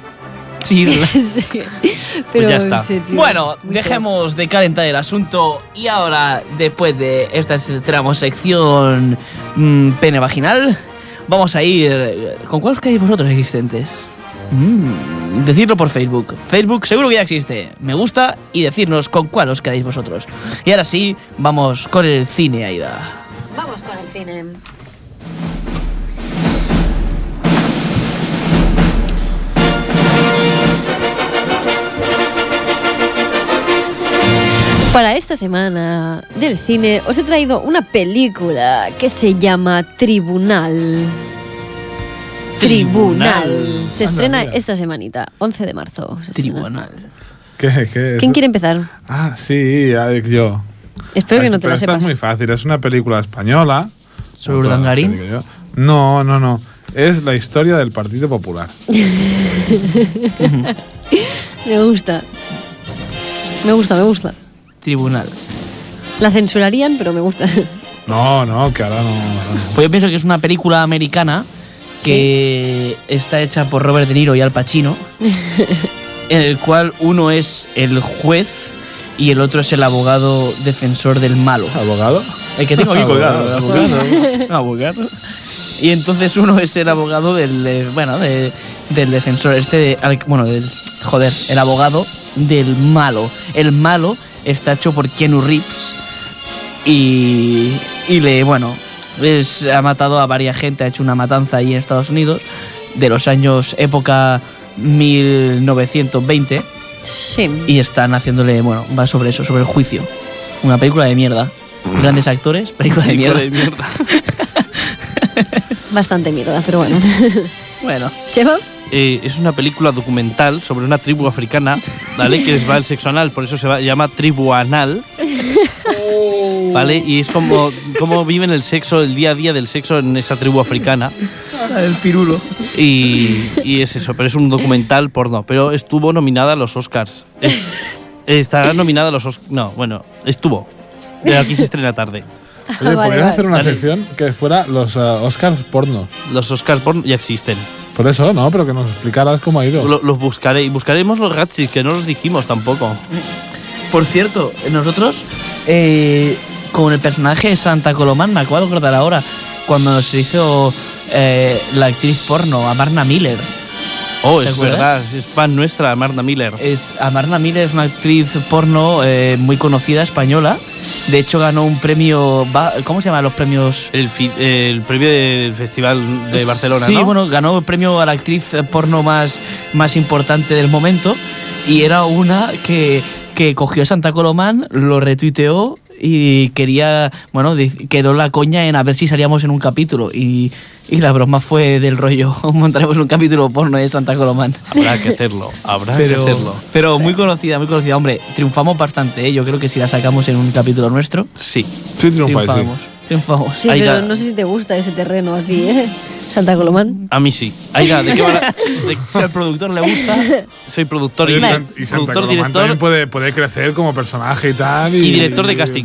[SPEAKER 5] Sí.
[SPEAKER 2] Sí. Pero
[SPEAKER 4] ya está.
[SPEAKER 2] no sé, tío.
[SPEAKER 5] Bueno,
[SPEAKER 2] Muy
[SPEAKER 5] dejemos de calentar el asunto y ahora, después de esta tramo sección mm, pene vaginal, vamos a ir... eh, ¿Con cuál os quedáis vosotros existentes? Mm, decidlo por Facebook. Facebook seguro que ya existe. Me gusta y decirnos con cuál os quedáis vosotros. Y ahora sí, vamos con el cine, Aida.
[SPEAKER 2] guay. Vamos con el cine. Para esta semana del cine os he traído una película que se llama Tribunal. Tribunal.
[SPEAKER 4] Tribunal.
[SPEAKER 2] Se estrena esta semanita, 11 de marzo. se estrena.
[SPEAKER 3] ¿Qué, qué es?
[SPEAKER 2] ¿Quién quiere empezar?
[SPEAKER 3] Ah, sí, Alex, yo.
[SPEAKER 2] Espero que
[SPEAKER 3] Ah,
[SPEAKER 2] no te
[SPEAKER 3] pero
[SPEAKER 2] la
[SPEAKER 3] esta
[SPEAKER 2] sepas.
[SPEAKER 3] es muy fácil, es una película española.
[SPEAKER 5] ¿Sobre
[SPEAKER 3] Otra,
[SPEAKER 5] Urdangarín?
[SPEAKER 3] te digo yo. No, no, no. Es la historia del Partido Popular.
[SPEAKER 2] Me gusta. Me gusta, me gusta.
[SPEAKER 5] Tribunal.
[SPEAKER 2] La censurarían, pero me gusta.
[SPEAKER 3] No, no, que ahora no. ahora no.
[SPEAKER 5] Pues yo pienso que es una película americana que está hecha por Robert De Niro y Al Pacino, en el cual uno es el juez y el otro es el abogado defensor del malo.
[SPEAKER 3] ¿Abogado?
[SPEAKER 5] El que tengo aquí colgado.
[SPEAKER 3] Abogado,
[SPEAKER 5] Abogado. Abogado. Y entonces uno es el abogado del, eh, bueno, de- del defensor este, de, al- bueno, del, joder, el abogado del malo. El malo está hecho por Keanu Reeves y, y le, bueno, es, ha matado a varias gente, ha hecho una matanza ahí en Estados Unidos de los años época 1920
[SPEAKER 2] Sí.
[SPEAKER 5] y están haciéndole, bueno, va sobre eso, sobre el juicio. Una película de mierda. Grandes actores, película de mierda.
[SPEAKER 4] Película de mierda.
[SPEAKER 2] Bastante mierda, pero bueno.
[SPEAKER 5] Bueno,
[SPEAKER 2] Chema,
[SPEAKER 4] Eh, es una película documental sobre una tribu africana, ¿vale? que les va el sexo anal, por eso se va- llama tribu anal. ¿Vale? Y es como, como viven el sexo, el día a día del sexo en esa tribu africana.
[SPEAKER 5] el pirulo.
[SPEAKER 4] Y, y es eso, pero es un documental porno. Pero estuvo nominada a los Oscars. Es- Estará nominada a los Oscars. No, bueno, estuvo. Pero aquí se estrena tarde.
[SPEAKER 2] Vale,
[SPEAKER 3] Oye, podrían
[SPEAKER 2] vale.
[SPEAKER 3] hacer una
[SPEAKER 4] Dale.
[SPEAKER 3] sección que fuera los ah, Oscars porno.
[SPEAKER 4] Los Oscars porno ya existen.
[SPEAKER 3] Por eso, no, pero que nos explicaras cómo ha ido.
[SPEAKER 4] Lo- los buscaré. Y buscaremos los Ratchis, que no los dijimos tampoco.
[SPEAKER 5] Por cierto, nosotros, eh, con el personaje de Santa Colomán, me acabo de acordar ahora, cuando nos hizo eh, la actriz porno, Amarna Miller.
[SPEAKER 4] Oh,
[SPEAKER 5] ¿Te
[SPEAKER 4] es
[SPEAKER 5] acuerdas?
[SPEAKER 4] verdad. Es fan nuestra, Marta Miller.
[SPEAKER 5] Es, Amarna Miller es una actriz porno eh, muy conocida española. De hecho, ganó un premio. va- ¿Cómo se llaman los premios?
[SPEAKER 4] El, fi- el premio del Festival de Barcelona,
[SPEAKER 5] Sí,
[SPEAKER 4] ¿no?
[SPEAKER 5] bueno, ganó el premio a la actriz eh, porno más, más importante del momento y era una que, que cogió a Santa Colomán, lo retuiteó y quería, bueno, di- quedó la coña en a ver si salíamos en un capítulo y, y la broma fue del rollo, montaremos un capítulo porno de Santa Colomán.
[SPEAKER 4] Habrá que hacerlo. Habrá que hacerlo.
[SPEAKER 5] pero muy conocida, muy conocida. Hombre, triunfamos bastante, ¿eh? yo creo que si la sacamos en un capítulo nuestro,
[SPEAKER 4] Sí.
[SPEAKER 3] Sí, triunfa, sí.
[SPEAKER 5] triunfamos. Triunfamos.
[SPEAKER 2] sí,
[SPEAKER 4] Ahí
[SPEAKER 2] pero
[SPEAKER 4] ya.
[SPEAKER 2] no sé si te gusta ese terreno a ti, ¿eh?
[SPEAKER 5] Sí,
[SPEAKER 2] Santa Colomán.
[SPEAKER 4] A mí sí. Aiga, ¿de qué va la- de- si al productor le gusta, soy productor y,
[SPEAKER 3] Y, San- y Santa
[SPEAKER 4] productor,
[SPEAKER 3] Colomán
[SPEAKER 4] director
[SPEAKER 3] también puede, puede crecer como personaje y tal. Y,
[SPEAKER 4] y director de casting.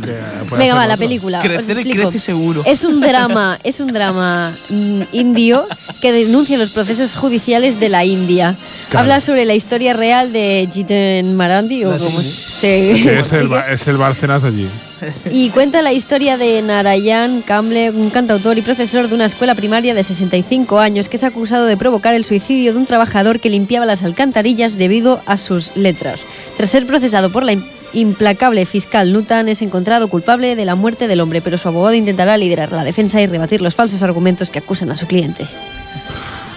[SPEAKER 2] Venga, va, la película. os explico. Es un drama, es un drama mm, indio que denuncia los procesos judiciales de la India.
[SPEAKER 3] Claro.
[SPEAKER 2] Habla sobre la historia real de Jiten Marandi o como se
[SPEAKER 3] es, el, ba- es el Bárcenas allí.
[SPEAKER 2] y cuenta la historia de Narayan Kamble, un cantautor y profesor de una escuela primaria de 65 años que es acusado de provocar el suicidio de un trabajador que limpiaba las alcantarillas debido a sus letras. Tras ser procesado por la im- implacable fiscal Nutan, es encontrado culpable de la muerte del hombre, pero su abogado intentará liderar la defensa y rebatir los falsos argumentos que acusan a su cliente.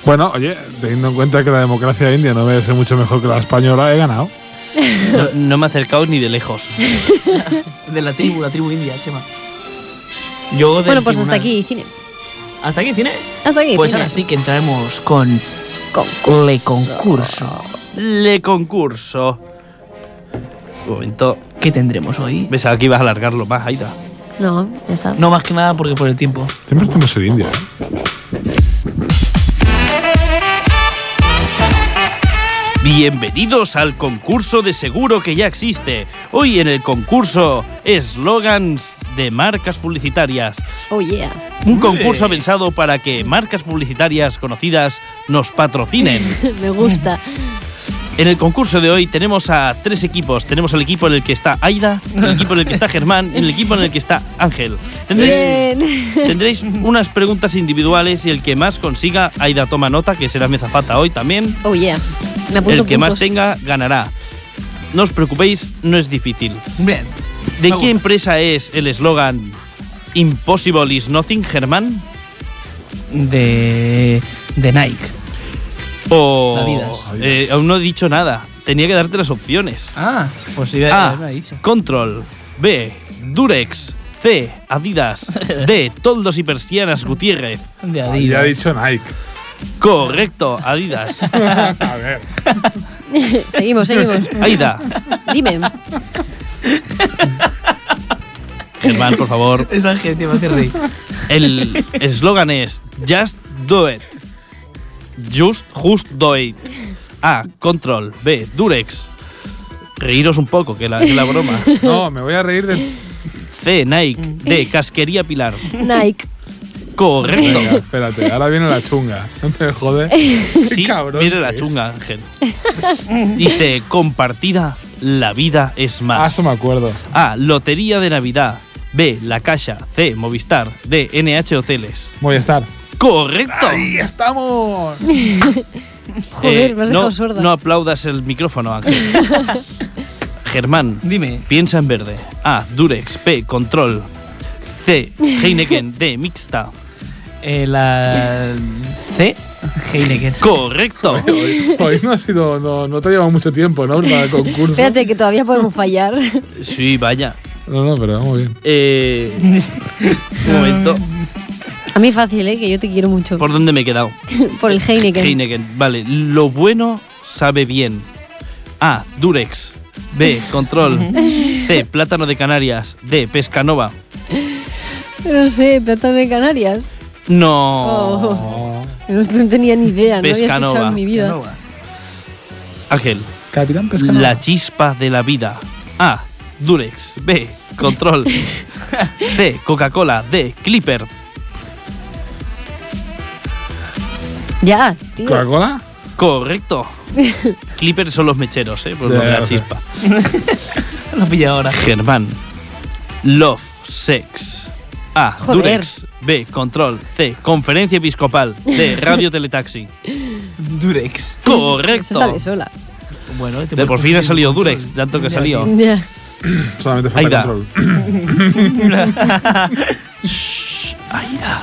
[SPEAKER 3] Bueno, oye, teniendo en cuenta que la democracia india no debe ser mucho mejor que la española, he ganado.
[SPEAKER 4] No, no me he acercado ni de lejos.
[SPEAKER 5] De la tribu, la tribu india, Chema. Yo del
[SPEAKER 2] Bueno, pues hasta
[SPEAKER 5] tribunal.
[SPEAKER 2] aquí, cine.
[SPEAKER 5] ¿Hasta aquí cine?
[SPEAKER 2] Hasta aquí,
[SPEAKER 5] Pues
[SPEAKER 2] cine.
[SPEAKER 5] ahora sí que entraremos con Le Concurso.
[SPEAKER 4] Le concurso. Un momento.
[SPEAKER 5] ¿Qué tendremos hoy?
[SPEAKER 4] Ves, aquí vas a alargarlo más, Aida.
[SPEAKER 2] No, ya está.
[SPEAKER 5] No más que nada porque por el tiempo.
[SPEAKER 3] Siempre estamos en India. ¿eh?
[SPEAKER 4] Bienvenidos al concurso de seguro que ya existe. Hoy en el concurso, eslogans de marcas publicitarias.
[SPEAKER 2] Oh yeah.
[SPEAKER 4] Un concurso pensado para que marcas publicitarias conocidas nos patrocinen.
[SPEAKER 2] Me gusta.
[SPEAKER 4] En el concurso de hoy tenemos a tres equipos. Tenemos el equipo en el que está Aida, el equipo en el que está Germán y el equipo en el que está Ángel. Tendréis,
[SPEAKER 2] Eh,
[SPEAKER 4] tendréis unas preguntas individuales y el que más consiga, Aida toma nota, que será mezafata hoy también.
[SPEAKER 2] Oh yeah. Me
[SPEAKER 4] El que
[SPEAKER 2] apunto
[SPEAKER 4] más
[SPEAKER 2] puntos.
[SPEAKER 4] tenga ganará. No os preocupéis, no es difícil.
[SPEAKER 5] Bien.
[SPEAKER 4] ¿De qué empresa es el eslogan Impossible is nothing, Germán?
[SPEAKER 5] De. de Nike.
[SPEAKER 4] O.
[SPEAKER 5] Adidas.
[SPEAKER 4] eh, aún no he dicho nada. Tenía que darte las opciones.
[SPEAKER 5] Ah, pues sí,
[SPEAKER 4] A.
[SPEAKER 5] me ha dicho.
[SPEAKER 4] Control. B. Durex. C. Adidas. D. Toldos y persianas Gutiérrez.
[SPEAKER 5] De
[SPEAKER 3] Ya ha
[SPEAKER 5] Adidas.
[SPEAKER 3] dicho Nike.
[SPEAKER 4] Correcto, Adidas.
[SPEAKER 3] A ver.
[SPEAKER 2] seguimos, seguimos.
[SPEAKER 4] Aida.
[SPEAKER 2] Dime.
[SPEAKER 4] Germán, por favor.
[SPEAKER 5] Es Ángel, tío, me hace reír.
[SPEAKER 4] El eslogan es Just Do It. Just, just do it. A. Control. B. Durex. Reíros un poco, que la, que la broma.
[SPEAKER 3] No, me voy a reír de.
[SPEAKER 4] C. Nike. D. Casquería Pilar.
[SPEAKER 2] Nike.
[SPEAKER 3] Venga,
[SPEAKER 4] Correcto.
[SPEAKER 3] espérate, ahora viene la chunga. No te jode.
[SPEAKER 4] Sí,
[SPEAKER 3] cabrón
[SPEAKER 4] mira
[SPEAKER 3] que
[SPEAKER 4] la
[SPEAKER 3] es.
[SPEAKER 4] chunga, Ángel. Dice, compartida, la vida es
[SPEAKER 3] Ah,
[SPEAKER 4] más.
[SPEAKER 3] eso me acuerdo.
[SPEAKER 4] A. Lotería de Navidad. B. La Caixa. C. Movistar. D. NH Hoteles.
[SPEAKER 3] Voy a estar.
[SPEAKER 4] ¡Correcto!
[SPEAKER 3] estamos!
[SPEAKER 2] Joder, me has
[SPEAKER 4] Eh, no,
[SPEAKER 2] dejado sorda.
[SPEAKER 4] no aplaudas el micrófono, Ángel. Germán,
[SPEAKER 5] Dime.
[SPEAKER 4] piensa en verde. A. Durex. B. Control. C. Heineken. D. Mixta.
[SPEAKER 5] eh, la. C. Heineken.
[SPEAKER 4] ¡Correcto!
[SPEAKER 3] Hoy, hoy no ha sido. No, no te ha llevado mucho tiempo, ¿no? Para el concurso.
[SPEAKER 2] Espérate que todavía podemos fallar.
[SPEAKER 4] Sí, vaya.
[SPEAKER 3] No, no, pero vamos bien.
[SPEAKER 4] Eh, un momento.
[SPEAKER 2] A mí fácil, ¿eh? Que yo te quiero mucho. Por,
[SPEAKER 4] ¿Por dónde me he quedado?
[SPEAKER 2] el Heineken.
[SPEAKER 4] Heineken, vale. Lo bueno sabe bien. A. Durex. B. Control. C. Plátano de Canarias. D. Pescanova.
[SPEAKER 2] No sé, plátano de Canarias.
[SPEAKER 4] No.
[SPEAKER 3] Oh.
[SPEAKER 2] No, no tenía ni idea, no había
[SPEAKER 4] Pescanova.
[SPEAKER 2] escuchado en mi vida.
[SPEAKER 4] Ángel.
[SPEAKER 3] Capitán Pescado.
[SPEAKER 4] La chispa de la vida. A. Durex. B. Control. C. Coca-Cola. D. Clipper.
[SPEAKER 2] Ya, tío.
[SPEAKER 3] ¿Coca-Cola?
[SPEAKER 4] Correcto. Clipper son los mecheros, ¿eh? Por lo de
[SPEAKER 3] Ya,
[SPEAKER 4] la
[SPEAKER 3] ya sé.
[SPEAKER 4] chispa.
[SPEAKER 5] Lo pilla ahora.
[SPEAKER 4] Germán. Love, sex. A.
[SPEAKER 2] Joder.
[SPEAKER 4] Durex. B. Control. C. Conferencia episcopal. D. Radio Teletaxi.
[SPEAKER 5] Durex.
[SPEAKER 2] Pues,
[SPEAKER 5] este
[SPEAKER 2] Eso
[SPEAKER 4] Correcto.
[SPEAKER 2] sale sola.
[SPEAKER 5] Bueno, te
[SPEAKER 4] De por
[SPEAKER 5] puedes
[SPEAKER 4] fin ha
[SPEAKER 5] confundir
[SPEAKER 4] salido
[SPEAKER 5] con todo.
[SPEAKER 4] Durex, tanto que ha salido.
[SPEAKER 2] Ya.
[SPEAKER 3] Solamente falta
[SPEAKER 4] Aida.
[SPEAKER 3] control.
[SPEAKER 4] Shh, Aida.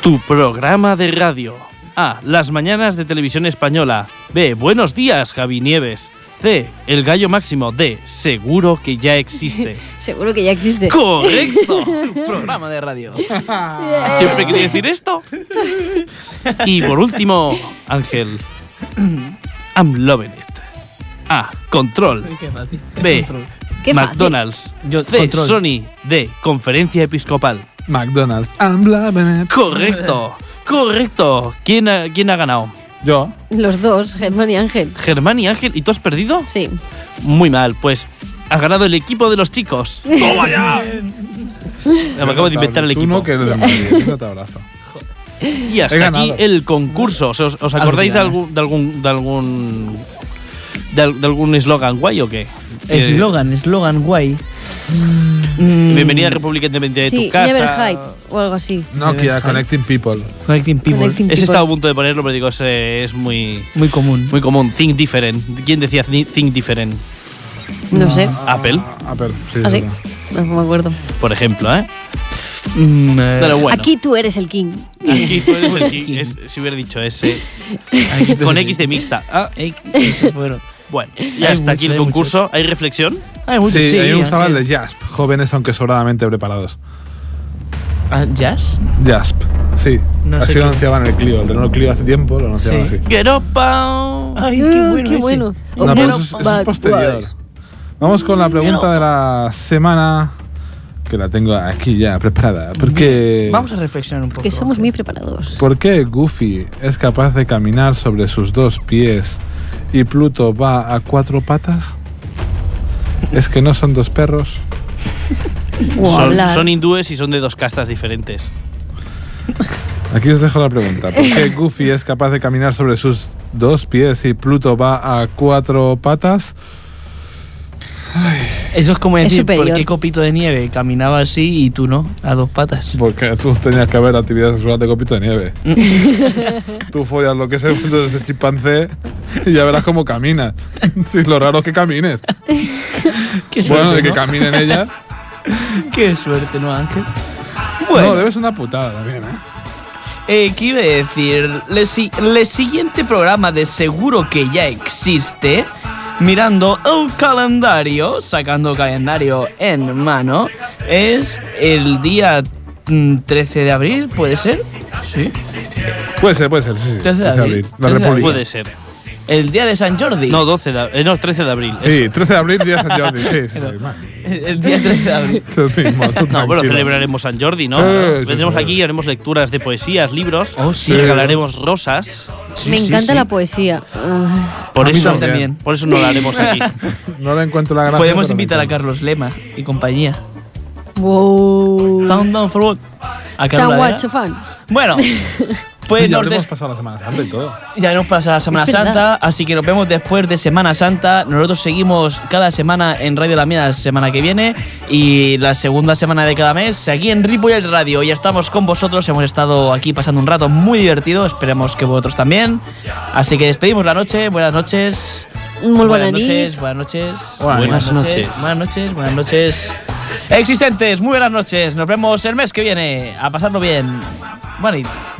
[SPEAKER 4] Tu programa de radio. A. Las mañanas de televisión española. B. Buenos días, Javi Nieves. C. El gallo máximo. D. Seguro que ya existe.
[SPEAKER 2] Seguro que ya existe.
[SPEAKER 4] ¡Correcto!
[SPEAKER 5] Programa de radio.
[SPEAKER 4] Siempre quería decir esto. Y por último, Ángel. I'm loving it. A. Control.
[SPEAKER 5] Qué fácil.
[SPEAKER 4] B.
[SPEAKER 5] Control.
[SPEAKER 2] Qué fácil.
[SPEAKER 4] McDonald's.
[SPEAKER 5] Yo-
[SPEAKER 4] C.
[SPEAKER 5] control.
[SPEAKER 4] Sony. D. Conferencia episcopal.
[SPEAKER 3] McDonald's. I'm loving it.
[SPEAKER 4] Correcto. Correcto. ¿Quién ha, quién ha ganado?
[SPEAKER 3] Yo.
[SPEAKER 2] Los dos, Germán y Ángel.
[SPEAKER 4] Germán y Ángel. ¿Y tú has perdido?
[SPEAKER 2] Sí.
[SPEAKER 4] Muy mal, pues has ganado el equipo de los chicos.
[SPEAKER 3] ¡Toma ya!
[SPEAKER 4] Me acabo de inventar el
[SPEAKER 3] Tú
[SPEAKER 4] equipo.
[SPEAKER 3] no, que eres de Madrid, no te abrazo.
[SPEAKER 4] Y
[SPEAKER 3] He
[SPEAKER 4] hasta
[SPEAKER 3] ganado.
[SPEAKER 4] aquí el concurso. ¿Os, os- os acordáis de algún de algún de algún de, al- de algún eslogan guay o qué? Eh,
[SPEAKER 5] Eslogan, eslogan guay.
[SPEAKER 4] Bienvenida a República Independiente de
[SPEAKER 2] sí,
[SPEAKER 4] tu casa.
[SPEAKER 2] Never Hide o algo así.
[SPEAKER 3] Nokia, Connecting People.
[SPEAKER 5] Mm, Connecting People.
[SPEAKER 2] Connecting
[SPEAKER 4] Ese
[SPEAKER 2] People.
[SPEAKER 4] estaba a punto de ponerlo, pero digo, ese es muy
[SPEAKER 5] Muy común.
[SPEAKER 4] muy común. Think different. ¿Quién decía thi- think different?
[SPEAKER 2] No sé,
[SPEAKER 4] Apple,
[SPEAKER 3] Apple, ¿Ah, sí, Ah, es
[SPEAKER 2] así.
[SPEAKER 3] verdad.
[SPEAKER 2] No me acuerdo.
[SPEAKER 4] por ejemplo, ¿eh?
[SPEAKER 5] Mm, eh,
[SPEAKER 4] Pero bueno.
[SPEAKER 2] Aquí tú eres el king.
[SPEAKER 4] Aquí tú eres el king. Es- si hubiera dicho ese.
[SPEAKER 5] aquí
[SPEAKER 4] Con
[SPEAKER 5] tenemos-
[SPEAKER 4] X de mixta. Ah,
[SPEAKER 5] Eh, eso fueron.
[SPEAKER 4] bueno, ya
[SPEAKER 5] Hay
[SPEAKER 4] está aquí
[SPEAKER 5] mucho,
[SPEAKER 4] el
[SPEAKER 5] hay mucho.
[SPEAKER 4] concurso. ¿Hay reflexión?
[SPEAKER 5] Hay muchos,
[SPEAKER 3] Sí, a mí me gustaba el
[SPEAKER 5] Ángel.
[SPEAKER 3] de Jasp, jóvenes aunque sobradamente preparados.
[SPEAKER 5] Ah, ¿Jazz?
[SPEAKER 3] Jasp, sí.
[SPEAKER 5] No sé
[SPEAKER 3] así
[SPEAKER 5] qué-
[SPEAKER 3] lo anunciaban el Clio. El Renault Clio hace tiempo lo anunciaban
[SPEAKER 5] Sí.
[SPEAKER 3] así.
[SPEAKER 4] ¡Gueropa!
[SPEAKER 5] Ay,
[SPEAKER 2] Ah, qué bueno.
[SPEAKER 3] No,
[SPEAKER 2] Oh,
[SPEAKER 3] pero
[SPEAKER 2] bueno,
[SPEAKER 3] eso es, eso es
[SPEAKER 2] back-
[SPEAKER 3] posterior. Vamos con la pregunta de la semana, que la tengo aquí ya preparada. ¿Por qué,
[SPEAKER 5] Vamos a reflexionar un poco.
[SPEAKER 2] Que somos muy preparados.
[SPEAKER 3] ¿Por qué Goofy es capaz de caminar sobre sus dos pies y Pluto va a cuatro patas? ¿Es que no son dos perros?
[SPEAKER 2] O
[SPEAKER 4] Son,
[SPEAKER 2] hablar.
[SPEAKER 4] son hindúes y son de dos castas diferentes.
[SPEAKER 3] Aquí os dejo la pregunta. ¿Por qué Goofy es capaz de caminar sobre sus dos pies y Pluto va a cuatro patas?
[SPEAKER 5] Eso es como
[SPEAKER 2] Es
[SPEAKER 5] decir, ¿por
[SPEAKER 2] superior.
[SPEAKER 5] qué Copito de Nieve caminaba así y tú no? A dos patas.
[SPEAKER 3] Porque tú tenías que haber actividad sexual de copito de nieve. tú follas lo que es el mundo de ese chimpancé y ya verás cómo camina. Sí, lo raro es que camines.
[SPEAKER 5] Qué suerte,
[SPEAKER 3] Bueno, de que
[SPEAKER 5] ¿no?
[SPEAKER 3] caminen ellas.
[SPEAKER 5] Qué suerte, ¿no, Ángel?
[SPEAKER 3] No, debes una putada también, ¿eh?
[SPEAKER 5] Eh, ¿Qué iba a decir? Le, si- le siguiente programa de seguro que ya existe. Mirando el calendario, sacando calendario en mano, es el día mm, 13 de abril, ¿puede ser? Sí.
[SPEAKER 3] Puede ser, puede ser, sí,
[SPEAKER 5] 13
[SPEAKER 3] sí.
[SPEAKER 5] de
[SPEAKER 3] 13 de
[SPEAKER 5] abril.
[SPEAKER 3] abril.
[SPEAKER 5] 13
[SPEAKER 3] La
[SPEAKER 5] de
[SPEAKER 3] República.
[SPEAKER 4] Puede ser.
[SPEAKER 5] El día de San Jordi.
[SPEAKER 4] No, 12 de, ab- eh, no, 13 de abril.
[SPEAKER 3] Sí,
[SPEAKER 4] eso.
[SPEAKER 3] 13 de abril, día de San Jordi. Sí, sí, sí. man.
[SPEAKER 5] el día 13 de abril.
[SPEAKER 3] Eso es mismo, tú
[SPEAKER 4] No,
[SPEAKER 3] tranquilo.
[SPEAKER 4] pero celebraremos San Jordi, ¿no?
[SPEAKER 3] Sí, sí,
[SPEAKER 4] Vendremos
[SPEAKER 3] sí.
[SPEAKER 4] aquí y haremos lecturas de poesías, libros.
[SPEAKER 5] Oh, sí.
[SPEAKER 4] y regalaremos rosas.
[SPEAKER 2] Me
[SPEAKER 5] Sí, sí,
[SPEAKER 2] encanta
[SPEAKER 5] sí.
[SPEAKER 2] la poesía. Ah,
[SPEAKER 4] Por
[SPEAKER 3] A mí
[SPEAKER 4] eso,
[SPEAKER 5] también.
[SPEAKER 4] por eso no la haremos aquí.
[SPEAKER 3] No le encuentro la gracia.
[SPEAKER 5] Podemos
[SPEAKER 3] pero me
[SPEAKER 5] invitar a
[SPEAKER 3] encanta.
[SPEAKER 5] Carlos Lema y compañía.
[SPEAKER 2] wow.
[SPEAKER 5] Down, down for what? A
[SPEAKER 2] Chan
[SPEAKER 5] Carla
[SPEAKER 2] guacho
[SPEAKER 5] Herrera.
[SPEAKER 2] fan.
[SPEAKER 5] Bueno, pues
[SPEAKER 3] Ya
[SPEAKER 5] nos
[SPEAKER 3] habremos
[SPEAKER 5] des-
[SPEAKER 3] pasado la Semana Santa y todo.
[SPEAKER 5] ya nos pasa la Semana
[SPEAKER 2] Es verdad.
[SPEAKER 5] Santa, así que nos vemos después de Semana Santa. Nosotros seguimos cada semana en Radio La Mía la semana que viene y la segunda semana de cada mes aquí en Ripollet Radio. Ya estamos con vosotros, hemos estado aquí pasando un rato muy divertido, esperemos que vosotros también. Así que despedimos la noche, buenas noches.
[SPEAKER 2] Muy buena
[SPEAKER 5] buenas noches,
[SPEAKER 2] nit.
[SPEAKER 5] buenas noches.
[SPEAKER 3] Buenas
[SPEAKER 4] noches.
[SPEAKER 5] Buenas noches, buenas noches. Existentes, muy buenas noches. Nos vemos el mes que viene. A pasarlo bien. Buena nit.